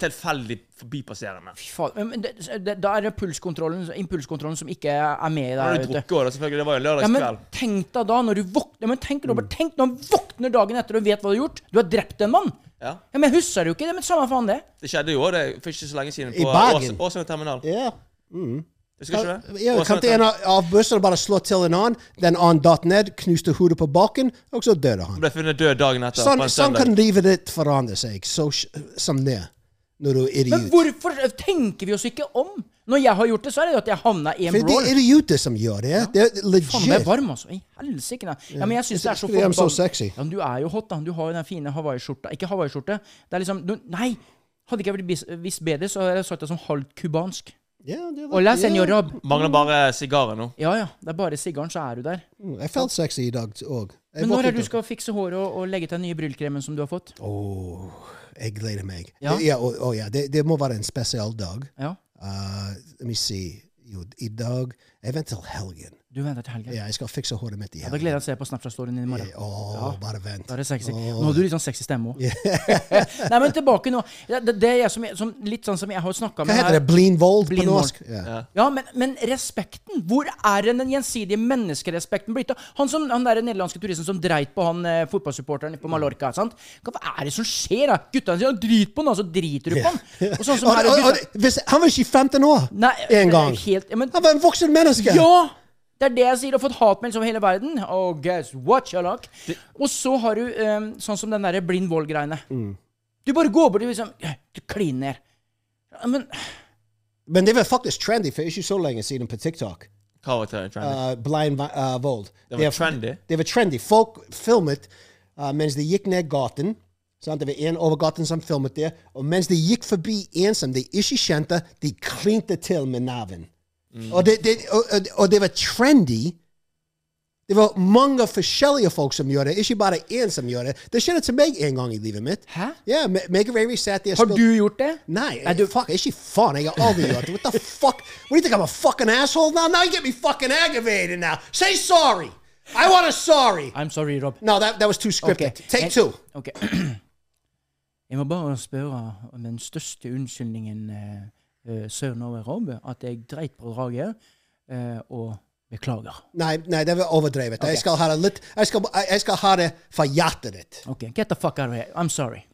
Tilfeldig forbipasserende. Fy faen, men- men det, det, Da er det pulskontrollen, impulskontrollen som ikke er med i Da deg. hadde du vet du. drukket også, selvfølgelig. Det var jo Ja, men lørdagskveld. tenk deg da når du våkner Men tenk deg, Mm. bare tenk når du våkner dagen etter og vet hva du har gjort. Du har drept en mann. Ja. Ja, men jeg husker det jo ikke det, men samme faen det. Det skjedde jo også, det for ikke så lenge siden I på Bergen. Ås- Åsane terminal. Ja. Husker ikke du det? Ja, Åsane kan ikke en terminal. av av bussene bare slå til en annen? Den annen datt ned, knuste hodet på bakken, og så døde han. Ble funnet død dagen etter. på Sånn, en sånn søndag. kan livet ditt forandre seg så, sj- som det, når du er Men idiot. hvorfor tenker vi oss ikke om? Når jeg har gjort det, så er det jo at jeg havna i en For det brawl. er idioter som gjør det. Det Faen, er jeg er legit. varm, altså. I helsike. da. Ja, men jeg synes det er så Fordi I'm so forbann- sexy. Ja, men du er jo hot, da. Du har jo den fine hawaiiskjorta. Ikke hawaiiskjorte. Det er liksom du, Nei! Hadde ikke jeg blitt bis- visst bedre, så hadde jeg sagt det som halvt cubansk. Ja, det er- Hola, ja. senor Rob. Mangler bare sigarer nå. Ja ja, det er bare sigaren, så er du der. Mm, Jeg følte sexy i dag òg. Men når er det du skal fikse håret og, og legge til den nye bryllkremen som du har fått? Jeg gleder meg. Ja. Ja, ja, å, å, ja. Det, det må være en spesiell dag. Ja, Uh, let me see. Jo, I dag Jeg venter til helgen. du venter til helgen. Ja, jeg skal fikse håret mitt i Da helgen. gleder jeg meg til å se på Snapchat-storyen din i morgen. Å, bare vent. Da er det sexy. Å. Nå har du litt sånn sexy stemme òg. Nei, men tilbake nå. Det, det- det er jeg som, som, litt sånn som jeg har snakka med Hva heter her. det? Blindvold på Blindvold. norsk? Ja. Ja, men, men respekten! Hvor er den gjensidige menneskerespekten blitt av? Han, som- han der nederlandske turisten som dreit på han eh, fotballsupporteren på Mallorca. sant? Hva er det som skjer? da? Guttene sier 'drit på han', og så driter du på han. Og sånn som Og- her, og- og- gutta- hvis, han var ikke 15 år Nei, en gang. helt- ja, men- han var en voksen menneske. Ja! Det er det jeg sier. Har fått hatmelding over hele verden. Oh, guess what, Sherlock? Og så har du ehm, sånn som den derre blind vold-greiene. Mm. Du bare går bort og liksom «Ja, Du kliner. Ja, Men Men det var faktisk trendy for ikke så lenge siden på TikTok. Hva var det? Trendy? Uh, blind vi- uh, vold. Det Det var er- trendy? Det var trendy. Folk filmet uh, mens de gikk ned gaten. Sant? Det var en over gaten som filmet det. Og mens de gikk forbi en som de ikke kjente, de klinte til med neven. Mm. Og, det, det, og, og- og det var trendy. Det var mange forskjellige folk som gjorde det, ikke bare én som gjorde det. Det skjedde til meg en gang i livet mitt. Hæ? Ja, Me- Megan Ravi satt der og har spilte- du gjort det? Nei, du- fuck, ikke faen. Jeg har aldri gjort det. oh, What the fuck? What do you think I'm a fucking asshole now? Now you get me fucking aggravated now. Say sorry. I want a sorry. I'm sorry, Rob. No, that, that was too scripted. Take Jeg- two. Ok. Jeg må bare spørre om den største unnskyldningen eh, eh, søren over Rob, at jeg dreit på draget, eh, og beklager. Nei, nei, det var overdrevet. Ok. Jeg skal ha det litt Jeg skal, jeg skal ha det fra hjertet ditt. Ok, get the fuck out of here. I'm sorry.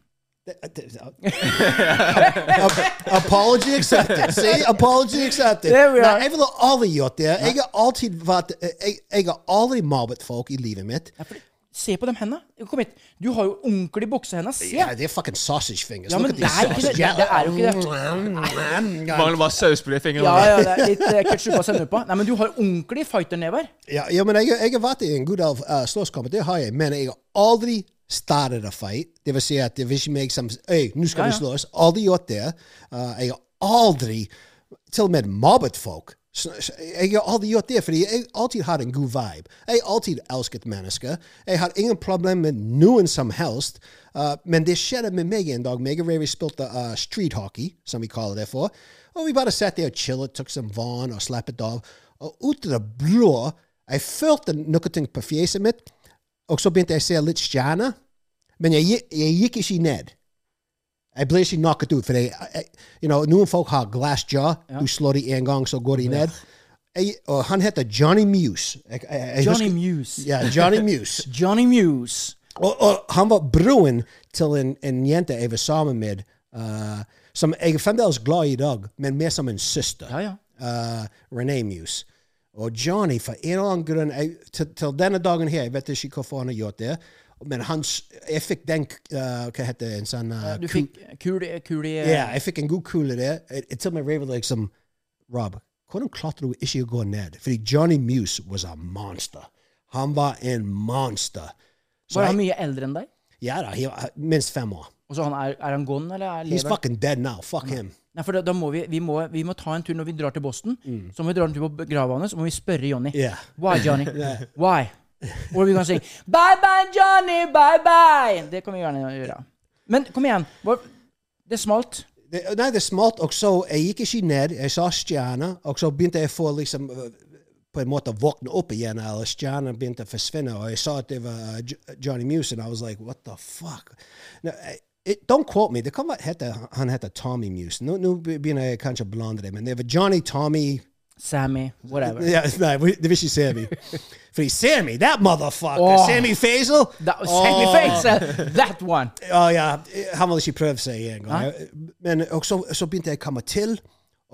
Ap- Apology accepted. See? Apology accepted. There we Nei, are. jeg ville aldri gjort det. Jeg har alltid vært Jeg, jeg har aldri mobbet folk i livet mitt. Ja, for, se på de hendene. Kom hit. Du har jo ordentlig buksehendene. Se! Ja, det er fucking sausage fingers. Ja, Look men at det these er ikke det. sausage- Det er jo ikke Mangler bare saus på de fingrene. Ja, ja, det er litt eh, ketchup og sennep på. Nei, men du har ordentlig fighternever. Ja, ja men jeg, jeg har vært i en god del uh, slåsskamper, det har jeg. Men jeg har aldri startet en fight. Det vil si at det var ikke meg som Øy, nå skal Ja, ja. vi slåss. Aldri gjort det. Uh, jeg har aldri til og med mobbet folk. Så- så Jeg har aldri gjort det, fordi jeg alltid har en god vibe. Jeg har alltid elsket mennesker. Jeg har ingen problem med noen som helst. Uh, men det skjedde med meg en dag. Meg og Ravy spilte uh, street hockey, som vi kaller det for. Og vi bare satt der og chillet, tok som vann og slappet av. Og ut av det blå Jeg følte noe ting på fjeset mitt, og så begynte jeg å se litt stjerner. Men jeg, gi- jeg gikk ikke ned. Jeg ble ikke knocket ut. For jeg, jeg, you know, noen folk har glassjaw. Du slår dem én gang, så går de ned. Jeg, og oh, han heter Johnny Muse. Jeg, jeg, jeg Johnny husker- Muse. Ja, Johnny Muse. Johnny Muse. Og, og han var broen til en, en jente jeg var sammen med, eh, som jeg er fremdeles glad i i dag, men mer som en søster. Ja, ja. Eh, Renee Muse. Og Johnny, for en eller annen grunn jeg, til, til denne dagen her, jeg vet ikke hvorfor han har gjort det, men hans, jeg fikk den eh, Hva heter det? En sånn eh, Du ku- fikk kul, kul i ja, jeg fikk en god kule der. Jeg, jeg til og med ravet liksom Rob, hvordan klarte du ikke å gå ned? Fordi Johnny Muse was a monster. Han var en monster. Så Var jeg- han mye eldre enn deg? ja da, he, minst fem år. Og så han er, er han gone, eller er He's lever? fucking dead now. Fuck him. Nei, for da, da må vi, vi, må, vi må ta en tur når vi drar til Boston. Mm. Så må vi dra en tur på grava hans, og må vi spørre Johnny. Yeah. Why, Johnny? Why? Or are we gonna sing Bye bye, Johnny, bye bye! Det kommer vi gjerne å gjøre. Men kom igjen. Hva- Det smalt. Det, nei, det smalt, og så eh, jeg gikk ikke ned. Jeg sa stjerne, og så begynte jeg å få liksom øh, på en måte våkne opp igjen, eller stjernen begynte å forsvinne, og jeg sa at det var øh, Jo- Johnny Muse, and I was like, what the fuck? Nå, jeg- it, don't quote me. Det kan være hete, han heter Tommy Muse. Nå, nå begynner jeg kanskje å blande det, men det var Johnny, Tommy Sammy, whatever. ja, Nei, det vil ikke Sammy. Fordi Sammy, that motherfucker! Åh. Sammy Faisal! Da, Sammy Åh. Face! That one! Ja, ja. Han ville ikke prøve seg en gang. Men og så, så begynte jeg å komme til,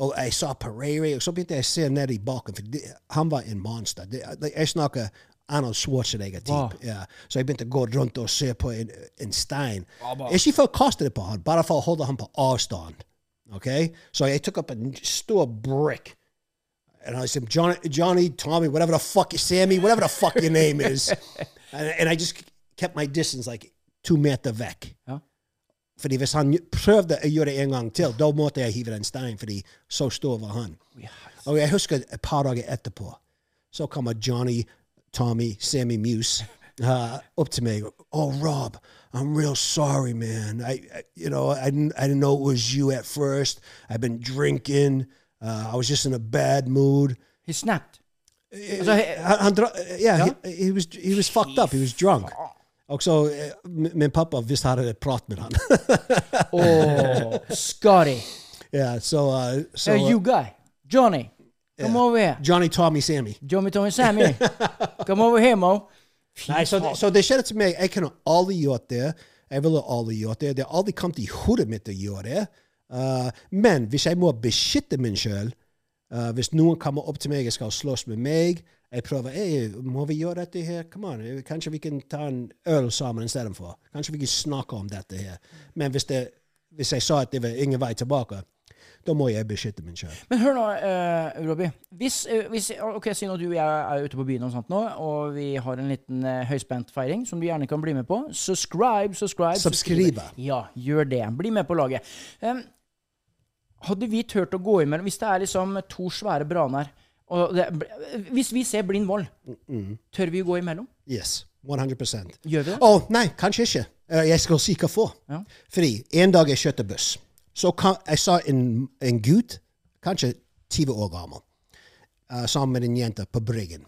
og jeg sa Parere, og så begynte jeg å se ned i baken, for det, han var en monster. Det, like, jeg snakker Arnold Schwarzenegger-type. Ja. Så jeg begynte å gå rundt og se på en, en stein. er Ikke for å kaste det på han, bare for å holde han på avstand. Okay? Så jeg tok opp en stor brick. And I said, Johnny, Johnny, Tommy, whatever the fuck, Sammy, whatever the fuck your name is. and, and I just kept my distance like two meter vekk. Ja. Fordi hvis han prøvde å gjøre det en gang til, da måtte jeg hive den steinen, fordi så stor var han. Og jeg husker et par dager etterpå, så kommer Johnny, Tommy, Sammy Muse uh, opp til meg. Oh, Rob, I'm real sorry, man. I, I you know, I didn't, I didn't know it was you at first. I've been drinking. Uh, I was just in a bad mood. He snapped. Altså, he- uh, Han, han dra, yeah, He, he was he was fucked up. He was drunk. Og så eh, m- min pappa visst hadde et prat med han. Åh, Scotty. yeah, so uh, so Hey, you guy. Johnny. Come over here. Johnny, Tommy, Sammy. Johnny, Tommy, Sammy. Come over here, Mo. Nei, så, så det skjedde til meg. Jeg kunne aldri gjort det. Jeg ville aldri gjort det. Det har aldri kommet i hodet mitt å gjøre det. Uh, men hvis jeg må beskytte meg sjøl, uh, hvis noen kommer opp til meg og skal slåss med meg Jeg prøver hey, må vi gjøre dette her. Come on, eh, Kanskje vi kan ta en øl sammen istedenfor. Kanskje vi kan snakke om dette her. Men hvis, det, hvis jeg sa at det var ingen vei tilbake, da må jeg beskytte meg sjøl. Men hør nå, eh, Robbie. Hvis, eh, hvis, ok, Si nå du og jeg er ute på byen, og sånt nå, og vi har en liten uh, høyspentfeiring som du gjerne kan bli med på. Subscribe, subscribe. Subscribe. Ja, gjør det. Bli med på laget. Em, hadde vi turt å gå imellom Hvis det er liksom to svære braner og det, Hvis vi ser blind vold, tør vi gå imellom? Yes. 100 Gjør vi det? Å, nei, kanskje ikke. Eh, Jeg skal si hvorfor. Ja. Fordi en dag jeg kjørte buss, så kan, jeg så en, en gutt, kanskje 20 år gammel, eh, sammen med en jente på Bryggen.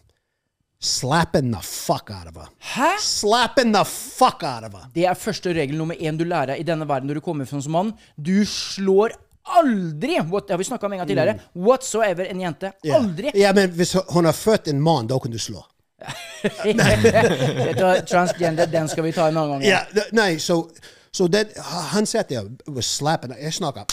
Slapping the fuck out of her. Hæ? Slapping the fuck out of her. Det er første regel nummer én du lærer i denne verden når du kommer fra som mann. Du slår aldri what, Det har vi snakka om en gang tidligere. Whatsoever en jente. Mm. Ja. Aldri! Ja, men hvis hun har født en mann, da kan du slå. Vet du hva, Transgender, den skal vi ta en annen gang. Ja, ne- nei, så så den, han satt der og slapping. Jeg snakker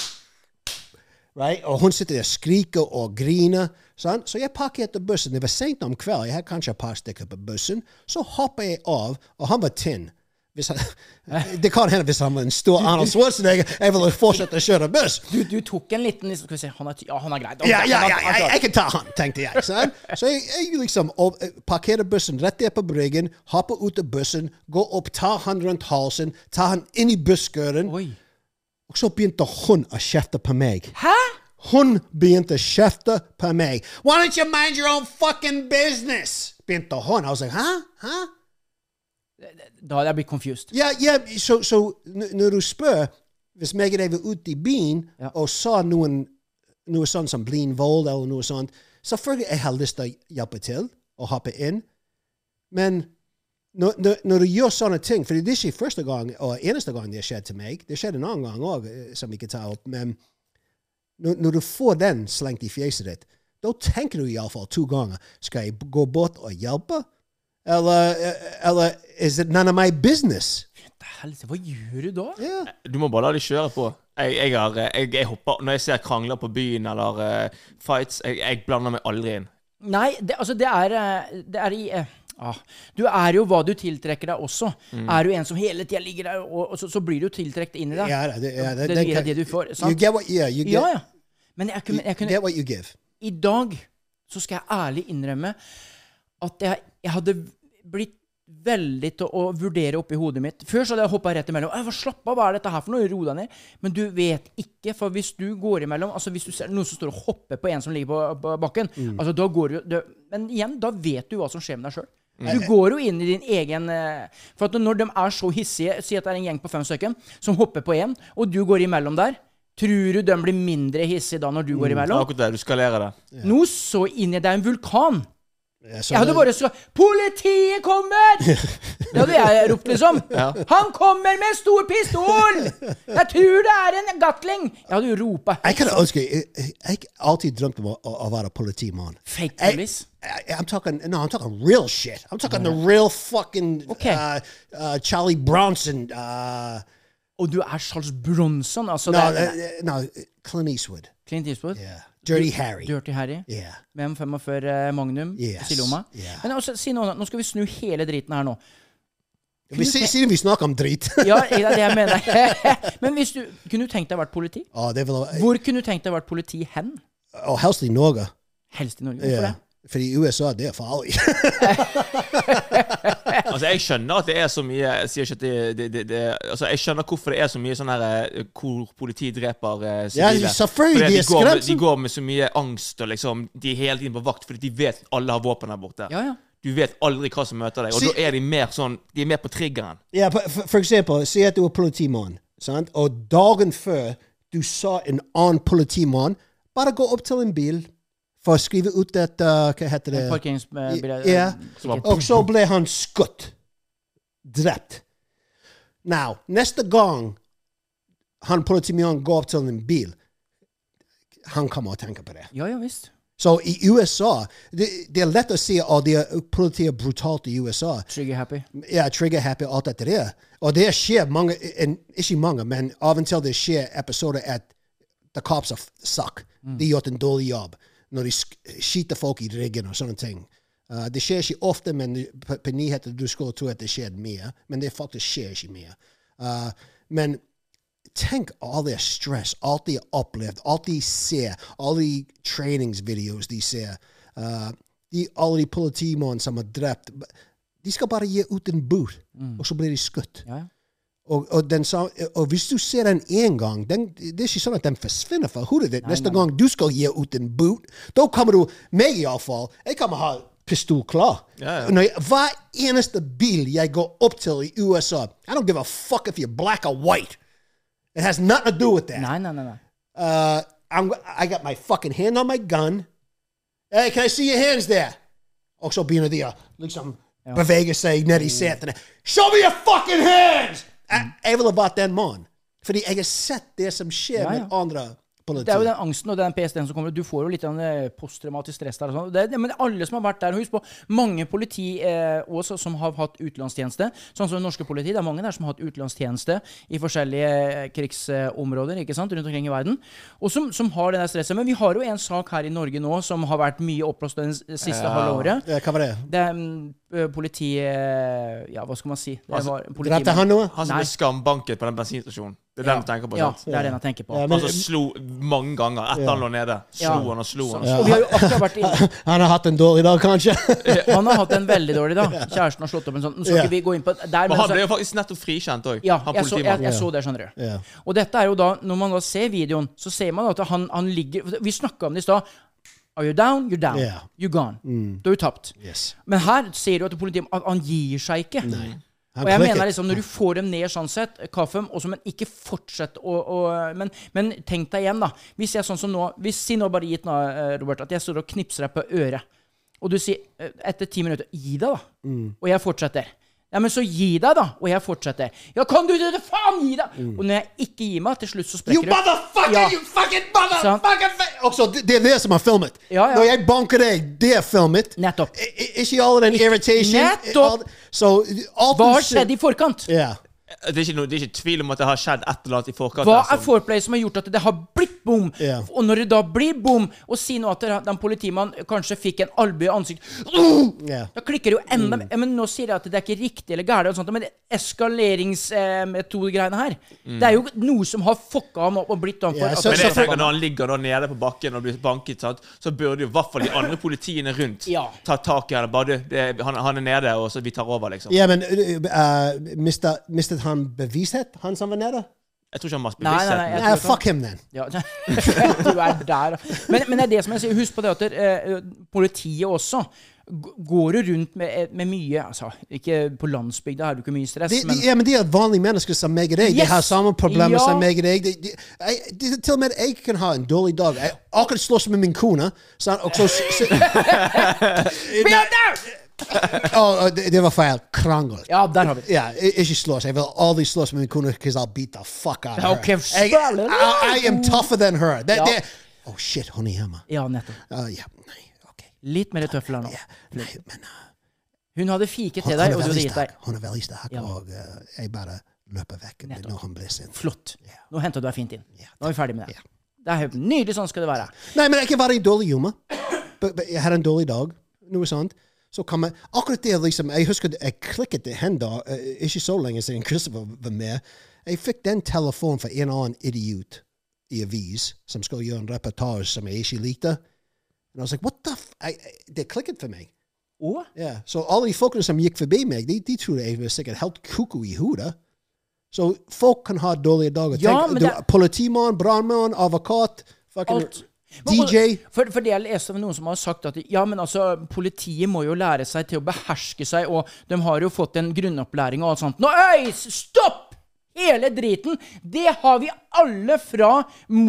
right? Og hun sitter der og skriker og griner. sant? Så jeg parkerte bussen. Det var sent om kvelden. Jeg hadde kanskje et par stykker på bussen. Så hopper jeg av, og han var tynn. Hvis han, det kan hende hvis han var en stor Arnold Schwarzenegger. Jeg ville fortsette å kjøre buss. Du, du tok en liten liksom, Skal vi se han er, ty- Ja, han er grei. Da- Ja, ja, han er- ja, han er jeg, klar. jeg kan ta han, tenkte jeg. sant? Så jeg, jeg liksom og, eh, parkerer bussen rett der på bryggen, hopper ut av bussen, går opp, tar han rundt halsen, tar han inn i busskuren. Oi. Og så begynte hun å kjefte på meg. Hæ? Hun begynte å kjefte på meg. Why don't you mind your own fucking business? Begynte hun. I was like, hæ? Hæ? Da hadde jeg blitt confused. Ja, ja, så, så n- når du spør, hvis meg og deg var ute i byen Ja. og sa e noen, noe sånt som blind vold eller noe sånt, Selvfølgelig jeg har lyst til å hjelpe til og hoppe inn, men når, når, når du gjør sånne ting For det er ikke første gang og eneste gang det har skjedd til meg. Det skjedde en annen e gang òg, som vi ikke tar opp. Men når, når du får den slengt i fjeset ditt, da tenker du iallfall to ganger. Skal jeg gå bort og hjelpe? Eller, eller is it none of my business? Helse, hva gjør du da? Ja. Du må bare la de kjøre på. Jeg, jeg, har, eh, jeg, jeg hopper Når jeg ser krangler på byen eller eh, fights, jeg, jeg blander meg aldri inn. Nei, det, altså det er, eh, det er i eh, ah, Du er jo hva du tiltrekker deg også. Mm. Er du en som hele tida ligger der, og, og så, så blir du tiltrukket inn i det. Ja, det, ja, det, den gir kan- deg det du får. You Sant? get what, yeah, you get, ja, ja. Men jeg kunne, you jeg kunne get what you give. I dag så skal jeg ærlig innrømme at jeg, jeg hadde blitt veldig til å vurdere oppi hodet mitt. Før så hadde jeg hoppa rett imellom. «Æ, hva, slapp av, hva er dette her for noe? Ro deg ned. Men du vet ikke, for hvis du går imellom Altså hvis du ser noen som står og hopper på en som ligger på, på bakken, altså da går du det, Men igjen, da vet du hva som skjer med deg sjøl. Du går jo inn i din egen eh, For at når de er så hissige, si at det er en gjeng på fem stykker som hopper på én, og du går imellom der, tror du de blir mindre hissige da når du går Det er imellom? akkurat det. Du skalerer det. Nå så inn i deg en vulkan. Ja, så Jeg hadde det- bare sagt 'Politiet kommer!' Det hadde jeg ropt, liksom. 'Han kommer med stor pistol!' 'Jeg tror det er en gatling!' Jeg hadde jo ropa Jeg kan ønske Jeg jeg har alltid drømt om å, å, å være politimann. Fake Jeg- police? I- Eh, I'm talking. No, I'm talking real shit. I'm talking the real fucking Okay. uh, uh, Charlie Bronson. Uh, Og du er Charles Bronson, altså. no, det uh, er, uh, no, Clint Eastwood. Clint Eastwood. Yeah, Dirty Harry. Dirty Harry. Yeah. Med 45 eh, Magnum Yes. yes. i lomma. Yeah. Men altså, si noe annet. Nå skal vi snu hele driten her nå. Vi ser- siden vi snakker om drit Ja, det er det jeg mener. Men hvis du Kunne du tenkt deg å vært politi? Å, det er vel- Hvor kunne du tenkt deg å vært politi hen? Å, helst i Norge. Helst i Norge. Hvorfor oh, Yeah. det? Fordi USA, det er farlig. Altså, jeg skjønner at det er så mye Jeg sier ikke at det, det, det, det Altså, jeg skjønner hvorfor det er så mye sånn her eh, hvor politi dreper eh, sivile. selvfølgelig, de Fordi at er de, går med, skremt. de går med så mye angst og liksom De er hele tiden på vakt fordi de vet at alle har våpen der borte. Ja, ja. Du vet aldri hva som møter deg, og Si- da er de mer sånn De er mer på triggeren. Ja, for, for- for eksempel, si at du er politimann, sant? og dagen før du sa en annen politimann, bare gå opp til en bil for å skrive ut et uh, Hva heter det? En parkeringsbil, Ja, eh, ja. sikkert. Og så ble han skutt. Drept. Now, neste gang han politimannen går opp til en bil, han kommer og tenker på det. Ja, ja visst. Så i USA Det, det er lett å si at politiet er brutalt i USA. Trigger happy. Ja, trigger happy, alt dette der. Og det skjer mange, en, ikke mange, men av og til det skjer episoder at the cops are f- suck. De har gjort en dårlig jobb når de sk- skyter folk i ryggen og sånne ting. Uh, det skjer ikke ofte, men du- på, på nyheter du skulle tro at det skjer mer. Men det faktisk skjer ikke mer. Uh, men tenk all det stress, alt de har opplevd, alt de ser, alle de treningsvideoer de ser. Uh, de, alle de politimannene som er drept. De skal bare gi ut en bud, og så blir de skutt. Ja, ja. Og, og, den sa, og hvis du ser den én gang, den, det er ikke sånn at den forsvinner fra hodet ditt. Neste gang du skal gi ut en boot, er da kommer du Meg iallfall. Jeg kommer ha pistol klar. Ja, ja. Når jeg, hver eneste bil jeg går opp til i USA I don't give a fuck if you're black or white. It has nothing to do with that. Nei, nei, nei. nei. Uh, I'm, I got my fucking hand on my gun. Hey, can I see your hands there? Oh, Og så begynner de å liksom bevege seg ned i setene. Show me your fucking hands! Jeg- Jeg ville vært den mannen. Fordi jeg har sett det som Ja, skjer ja. med andre politi. Det er jo den angsten og den PST-en som kommer. Du får jo litt av den, eh, posttraumatisk stress der. og sånn. Det, det- men alle som har vært der, husk på mange politi eh, også som har hatt utenlandstjeneste. Sånn som det norske politi. Det er mange der som har hatt utenlandstjeneste i forskjellige eh, krigsområder ikke sant, rundt omkring i verden. Og som, som har det der stresset. Men vi har jo en sak her i Norge nå som har vært mye oppblåst det siste halve året. Ja, Hva var det? Det er mm, ø, politi... eh, Ja, hva skal man si? Det Altså, var politimann. Drepte han noe? Han som Nei. ble skambanket på den bensinstasjonen. Det er den du tenker på? Ja, sant? det er den jeg tenker på. Ja, men- Han som slo mange ganger etter han lå nede. Slo Ja. han og slo han. Så- Og vi har jo akkurat vært inne Han har hatt en dårlig dag, kanskje? Han har hatt en veldig dårlig dag. Kjæresten har slått opp en sånn. Nå skal Ja. ikke vi gå inn på der, men Men han altså- ble jo faktisk nettopp frikjent òg, ja, han jeg så, jeg, politimannen. jeg så det, skjønner du. Ja. Og dette er jo da, når man da ser videoen, så ser man at han, han ligger Vi snakka om det i stad. Are you down? You're down. Ja. Mm. You're gone. Da er du tapt. Yes. Men her ser du at politiet at han gir seg ikke. Han Og jeg klikket. mener liksom, Når du får dem ned sånn sett, kaff dem, og så, men ikke fortsett å, å men, men tenk deg igjen, da. Hvis jeg sånn som nå hvis, Si nå bare gitt nå, eh, Robert, at jeg står og knipser deg på øret, og du sier eh, etter ti minutter 'Gi deg, da', og jeg fortsetter. Ja, men så gi deg, da. Og jeg fortsetter. Ja, kan du det? Faen, gi deg! Og når jeg ikke gir meg, til slutt så You sprekker du. motherfucker! Ja. You fucking motherfucker! Også, det, det er det som har filmet. Ja, ja. Når jeg banker deg, det er filmet. Nettopp. I- i- Ikke all den irritation. Nettopp. all- Så alt Hva du har ser- skjedd i forkant? Ja. Det er, ikke noe, det er ikke tvil om at det har skjedd et eller annet i forkant. Hva der altså. er sånn. som- foreplay som har gjort at det har blitt bom? Ja. Og når det da blir bom, og si nå at den politimannen kanskje fikk en albue i ansiktet Åh! Ja. Da klikker det jo enda mer. Men nå sier jeg at det er ikke riktig eller gærent, og sånt, men eskaleringsmetodegreiene her Det er jo noe som har fucka ham opp og blitt ham for Ja, at sånn. han så- Men jeg skal tenker få- når han ligger da nede på bakken og blir banket, sant? så burde jo i hvert fall de andre politiene rundt Ja. ta tak i han. Bare du, det, er- han, han er nede, og så vi tar over, liksom. Ja, men uh, mistet, mistet han bevissthet, han som var nede? Jeg tror ikke han har Nei, nei, bevisstheten. nei, jeg Nei, tror ikke han- fuck him then. Ja. du er der. Men, men det er det som jeg sier. Husk på det at eh, politiet også g- går jo rundt med, med mye altså, Ikke på landsbygda har du ikke mye stress, De, de, men ja, men de er vanlige mennesker som meg og deg. Yes! De har samme problemer Ja. som meg og deg. De, de, jeg, de, til og med jeg kan ha en dårlig dag. Jeg akkurat slåss med min kone. sant? og så, så, Å, å, det, det var feil. Krangel. Ja, der har vi det. Ja, i- ikke slåss. Jeg vil aldri slåss med min kone because I'll beat the fuck out of her. Ok, jeg, I, I am tougher than her. Det, Ja. det, oh shit, hun er hjemme. Ja, nettopp. Uh, ja, nei, ok. Litt mer tøfler nå. Ja, nei, men uh, Hun hadde fiket hun, til hun, deg, er og du hadde veldig gitt deg. sterk. hun er veldig sterk, Ja. og uh, jeg bare løper vekk når hun blir sint. Flott. Nå henta du deg fint inn. Nå er vi ferdig med Ja. det. Det er helt Nydelig. Sånn skal det være. Nei, men jeg kan være i dårlig humor. B- b- Jeg har en dårlig dag. Noe sånt. Så kan man, akkurat det liksom, Jeg husker jeg klikket det hen da, eh, ikke så lenge siden Christopher var med. Jeg fikk den telefonen fra en annen idiot i avis som skulle gjøre en reportasje som jeg ikke likte. And I was like, what the f... I, I, det klikket for meg. Og Ja, Så alle de folkene som gikk forbi meg, de, de trodde jeg var sikkert helt koko i hodet. Så folk kan ha dårlige dager. Ja, Tenk, men du, det- Politimann, brannmann, advokat, fucking alt. DJ. For, for det jeg leste av noen som har sagt at ja, men altså, politiet må jo lære seg til å beherske seg, og de har jo fått en grunnopplæring og alt sånt. Nå, øy, stopp! Hele driten! Det har vi alle fra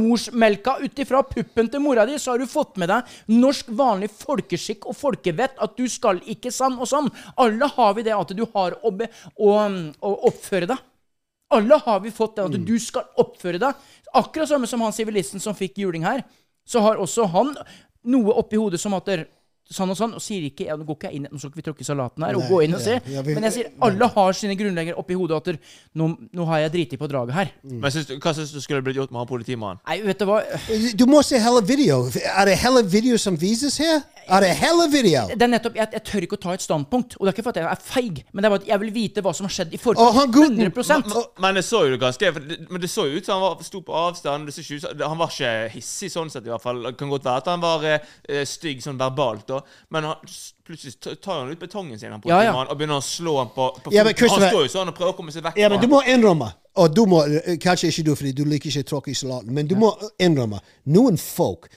morsmelka ut ifra puppen til mora di, så har du fått med deg norsk vanlig folkeskikk og folkevett, at du skal ikke sånn og sånn. Alle har vi det at du har å, be, å, å oppføre deg. Alle har vi fått den at Mm. du skal oppføre deg. Akkurat samme som han sivilisten som fikk juling her, så har også han noe oppi hodet som at der, sånn og sånn, og sier ikke ja, Nå går ikke jeg inn, nå skal ikke vi tråkke i salaten her og Nei, gå inn og se, ja, ja, vi- men jeg sier alle har sine grunnleggere oppi hodet at der, nå, nå har jeg driti på draget her. Men syns du- hva syns du skulle blitt gjort med han politimannen? Nei, vet du hva, Du må se hele video. Er det hele video som vises her? Er det hele video? det er nettopp jeg, jeg tør ikke å ta et standpunkt, og det er ikke for at jeg er feig, men det er bare at jeg vil vite hva som har skjedd i Og han forkant. Guten- 100 Men- Men det så jo ganske for det- Men det så jo ut som han var, sto på avstand. Det så ikke ut, som- han var ikke hissig sånn sett, i hvert fall. Det kan godt være at han var eh, eh, stygg sånn verbalt, da. Men han, s- plutselig t- tar han ut betongen sin, han Ja, ja. politimannen, og begynner å slå han på, på Ja, men foten. Han Christopher- står jo sånn og prøver å komme seg vekk. Ja, men fra du må han. innrømme. Og du må, kanskje ikke du, fordi du liker ikke tråkk i salaten, men du må innrømme. Noen folk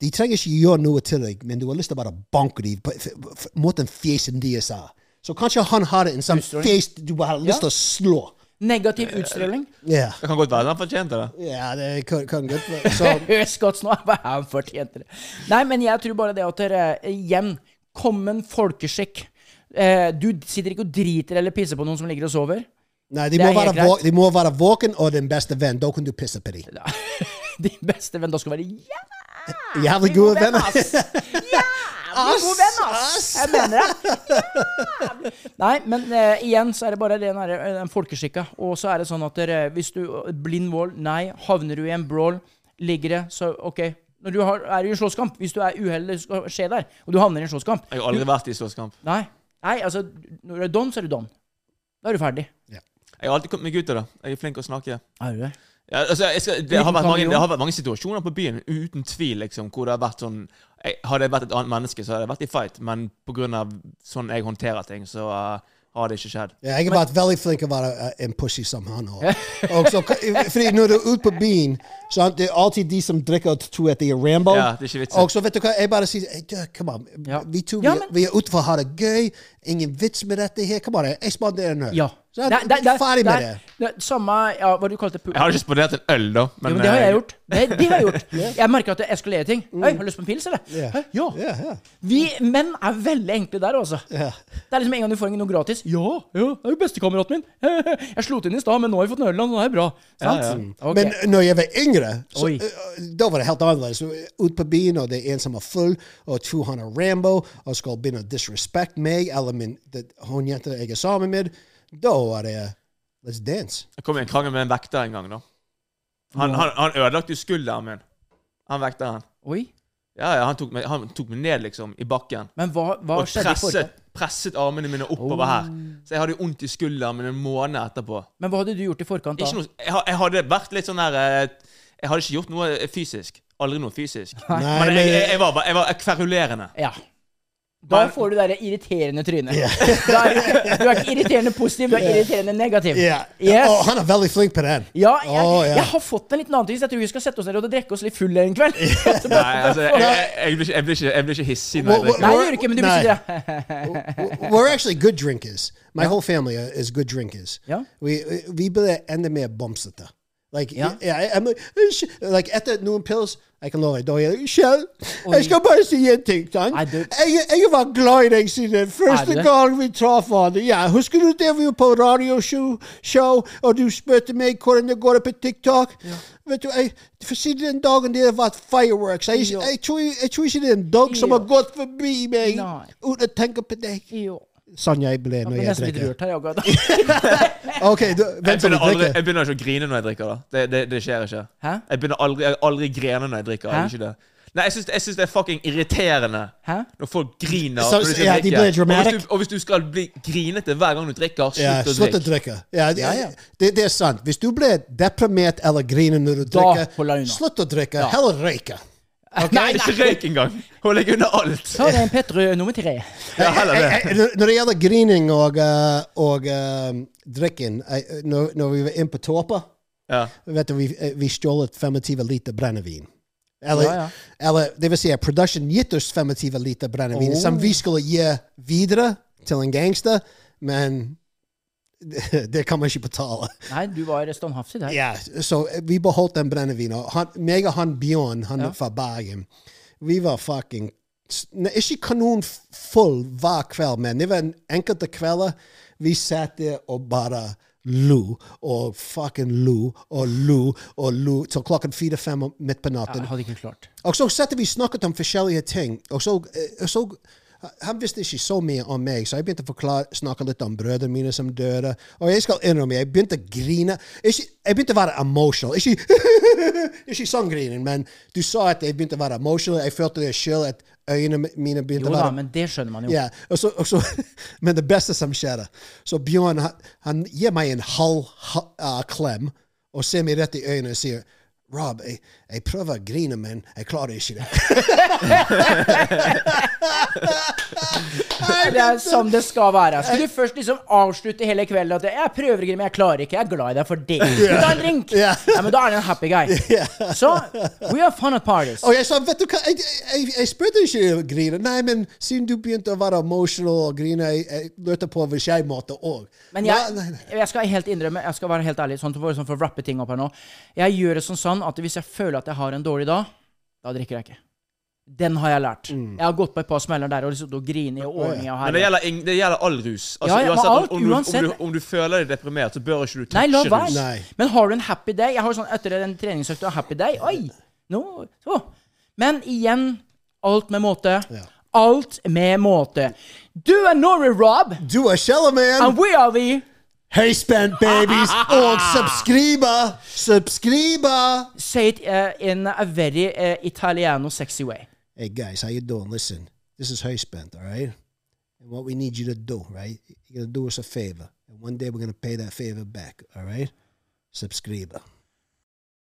de trenger ikke gjøre noe til deg, men du har lyst til å bare banke dem på, f- f- mot den fjesen de sa. Så kanskje han har en sånn fjes du bare har lyst til å slå. Negativ utstråling. Ja, Det kan godt være at han fortjente det. ja det kan, kan godt være. Så, Hør Scotts nå, hva er han fortjente det? Nei, men jeg tror bare det at dere, eh, igjen, common folkeskikk. Eh, du sitter ikke og driter eller pisser på noen som ligger og sover. nei, de Det må, er helt være vå- greit. de må være våken og din beste venn. Da kan du pisse på dem. De beste venn, da skal være jævlig god Jævlig gode venn, venner. ass! Jævlig god venn, ass! Jeg mener det. Jævlig. Nei, men eh, igjen så er det bare den, her, eh, den folkeskikka. Og så er det sånn at dere, hvis du Blind vold, nei. Havner du i en brawl, ligger det, så OK. Når du har, er i en slåsskamp, hvis du er uheldig skal skje der, og du havner i en slåsskamp, Jeg har aldri vært i slåsskamp. Nei. Nei, altså, når du er don, så er du don. Da er du ferdig. Jeg har alltid kommet meg ut av det. Jeg er flink til å snakke. Er du det? Ja, altså, jeg skal, det, har Liten vært mange, kameleon. det har vært mange situasjoner på byen uten tvil liksom, hvor det har vært sånn jeg, Hadde jeg vært et annet menneske, så hadde jeg vært i fight, men pga. sånn jeg håndterer ting, så eh, har det ikke skjedd. Ja, jeg har vært veldig flink til å være eh, en pussy somehow Oh, nå. Og så, fordi når du er ute på byen, sant, det er alltid de som drikker og tror at de er Rambo. Ja, det er ikke vitsen. Og så vet du hva, jeg bare sier hey, dude, Come on. Ja. Vi to Ja, vi, men- vi er ute for å ha det gøy. Ingen vits med dette her. Kom an, jeg spanderer en øl. Ja. Sant? Vi er ferdig med det. Samme ja, hva du kalte det? pu- Jeg har ikke spandert en øl, da. jo, Men, men det har eh, jeg gjort. Det, det har jeg gjort. Jeg merker at det eskalerer ting. Hei, har du lyst på en pils, eller? Ja. Hei, Mm. ja. Ja, ja. Vi menn er veldig enkle der, altså. Ja. Det er liksom en gang du får noe gratis. Ja, ja, det er jo bestekameraten min. Jeg slo til den i stad, men nå har jeg fått en øl, og det er bra. Sant? Ok. Men når jeg var yngre, så, Oi. eh, da var det helt annerledes. Ut på byen, og det er en som er full, og tror han er Rambo, og skal begynne å disrespect meg eller min, det, hun jenta jeg er sammen med. Da var det Let's dance. Jeg kom i en krangel med en vekter en gang, da. Han, han, han ødelagte jo skulderen min. Han vekteren. Oi. Ja, ja, han tok, meg, han tok meg ned, liksom, i bakken. Men hva, hva Og skjedde i forkant? Oh. presset, presset armene mine oppover her. Så jeg hadde jo vondt i skulderen min en måned etterpå. Men hva hadde du gjort i forkant da? Ikke noe, jeg, ha- jeg hadde vært litt sånn der eh, Jeg hadde ikke gjort noe eh, fysisk. Aldri noe fysisk. Nei, Men men, jeg, jeg, jeg var bare jeg var kverulerende. Ja. Da Men- får du det der irriterende trynet. Da er du- du er ikke irriterende positiv, du er irriterende negativ. Ja. Yes. Å, han er veldig flink på den. Ja, jeg, Å, ja. jeg har fått en liten antyning. så Jeg tror vi skal sette oss ned og drikke oss litt full en kveld. Nei, altså, jeg, jeg, jeg, blir ikke, jeg, blir ikke, jeg blir ikke hissig når jeg Hvor- Nei, hvor- drikker. det gjør du ikke, men du vil Nei. si det. We're actually good drinkers. My whole family are- is good drinkers. Ja. We uh, we be the end of me bumsete. Like Ja. yeah, I, I'm like, eh, sh- like at the noon pills. I can love it. Don't you? Shell. Jeg skal bare si en ting, sant? Nei, du- Jeg, jeg var glad i deg siden første Er du det? gang vi traff hverandre. Ja, husker du det vi var på radioshow, show, og du spurte meg hvordan det går på TikTok? Vet du, jeg, for siden den dagen det har vært fireworks, jeg, Ja. jeg, tror, jeg tror ikke det er en dag som Ja. har gått forbi meg Nei. uten å tenke på deg. Jo. Sånn jeg ble Jeg når blir jeg nesten litt drikker. rørt her, jeg òg. Ok, du, Jeg vent til du begynner, aldri, drikker. jeg begynner ikke å grine når jeg drikker. da Det, det, det skjer ikke. Hæ? Jeg begynner aldri, jeg aldri grene når jeg drikker. Hæ? Jeg gjør ikke det. Nei, jeg syns, jeg syns det er fucking irriterende Hæ? når folk griner. Så- når du skal ja, de drikke. blir Og hvis, dramatic. du, og hvis du skal bli grinete hver gang du drikker, slutt Ja, å slutt å drikke. drikke. Ja, det, Det, det er sant. Hvis du blir deprimert eller griner når du holder drikker, jeg unna. slutt å drikke. Heller røyke. Nei, Ikke røyk engang! Hold deg unna alt. Ta deg en Petrø nummer tre. Ja, heller det. Eh, eh, Når det gjelder grining og, eh, og eh, drikken, eh, når, når vi var inne på Torpa, Ja. vet du, vi, eh, vi stjal 25 liter brennevin. Eller, Ja, ja. eller det vil si, at production gitt oss 25 liter brennevin, som Oh. vi skulle gi videre til en gangster, men det kan man ikke betale. Nei, du var standhaftig der. Ja, så vi beholdt den brennevinen. og han- Meg og han Bjørn, han Ja. fra Bergen, vi var fucking s- ne- Ikke kanonfull hver kveld, men det var en enkelte kvelder vi satt der og bare lo og fucking lo og lo og lo til klokken fire-fem om- midt på natten. Jeg hadde ikke klart. Og så satt vi og snakket om forskjellige ting. Og så, eh, og så Han visste ikke så mye om meg, så jeg begynte å forklare, snakke litt om brødrene mine som døde. Og jeg skal innrømme, jeg begynte å grine. Ikke, jeg begynte å være emotional. Ikke, ikke sånn grining, men du sa at jeg begynte å være emotional. Jeg følte det sjøl, at øynene mine begynte Jo å da, være men det skjønner man jo. ja, og så, og så, men det beste som skjedde Så Bjørn han, han gir meg en halv ha, ah, klem og ser meg rett i øynene og sier e Rob, e, jeg, jeg prøver å grine, men e jeg klarer ikke det. Det er som det skal være. Skulle du først liksom avslutte hele kvelden at 'jeg prøver å grine, men jeg klarer ikke', 'jeg er glad i deg for det'. Ta en drink! Ja. Nei, men da er du en happy guy. Så we have fun at parties. Og jeg sa, vet du hva, jeg, jeg, jeg spurte ikke å grine. Nei, e men siden du begynte å være emotional e, og grine, jeg, jeg lurte på hvis jeg måtte òg. Men jeg, jeg skal helt innrømme, jeg skal være helt ærlig, sånn, for, sånn for å wrappe ting opp her nå. Jeg gjør det sånn sånn at hvis jeg føler at jeg har en dårlig dag, da drikker jeg ikke. Den har jeg lært. Jeg har gått på et par smeller der og liksom da griner og ordninger og Men det herjer. gjelder, ing- det gjelder all rus. Altså, Ja, ja, men uansett, alt, om, om, du, uansett. Om, du, om du føler deg deprimert, så bør ikke du Nei, la touche rus. være. Nei. Men har du en happy day Jeg har sånn etter en treningsøkt og happy day. Oi! Nå, så. Men igjen, alt med måte. Alt med måte. Du er Norway Rob, Du er Shella, man. and we are the Hey, spent babies. Og subscriber. Subscriber. Say it eh, in a very eh, Italiano sexy way. hey guys, how you doing? Listen, this is Herspent, all right? And what we need you to do, right? You're gonna do us a favor. And one day we're gonna pay that favor back, all right? Subscribe.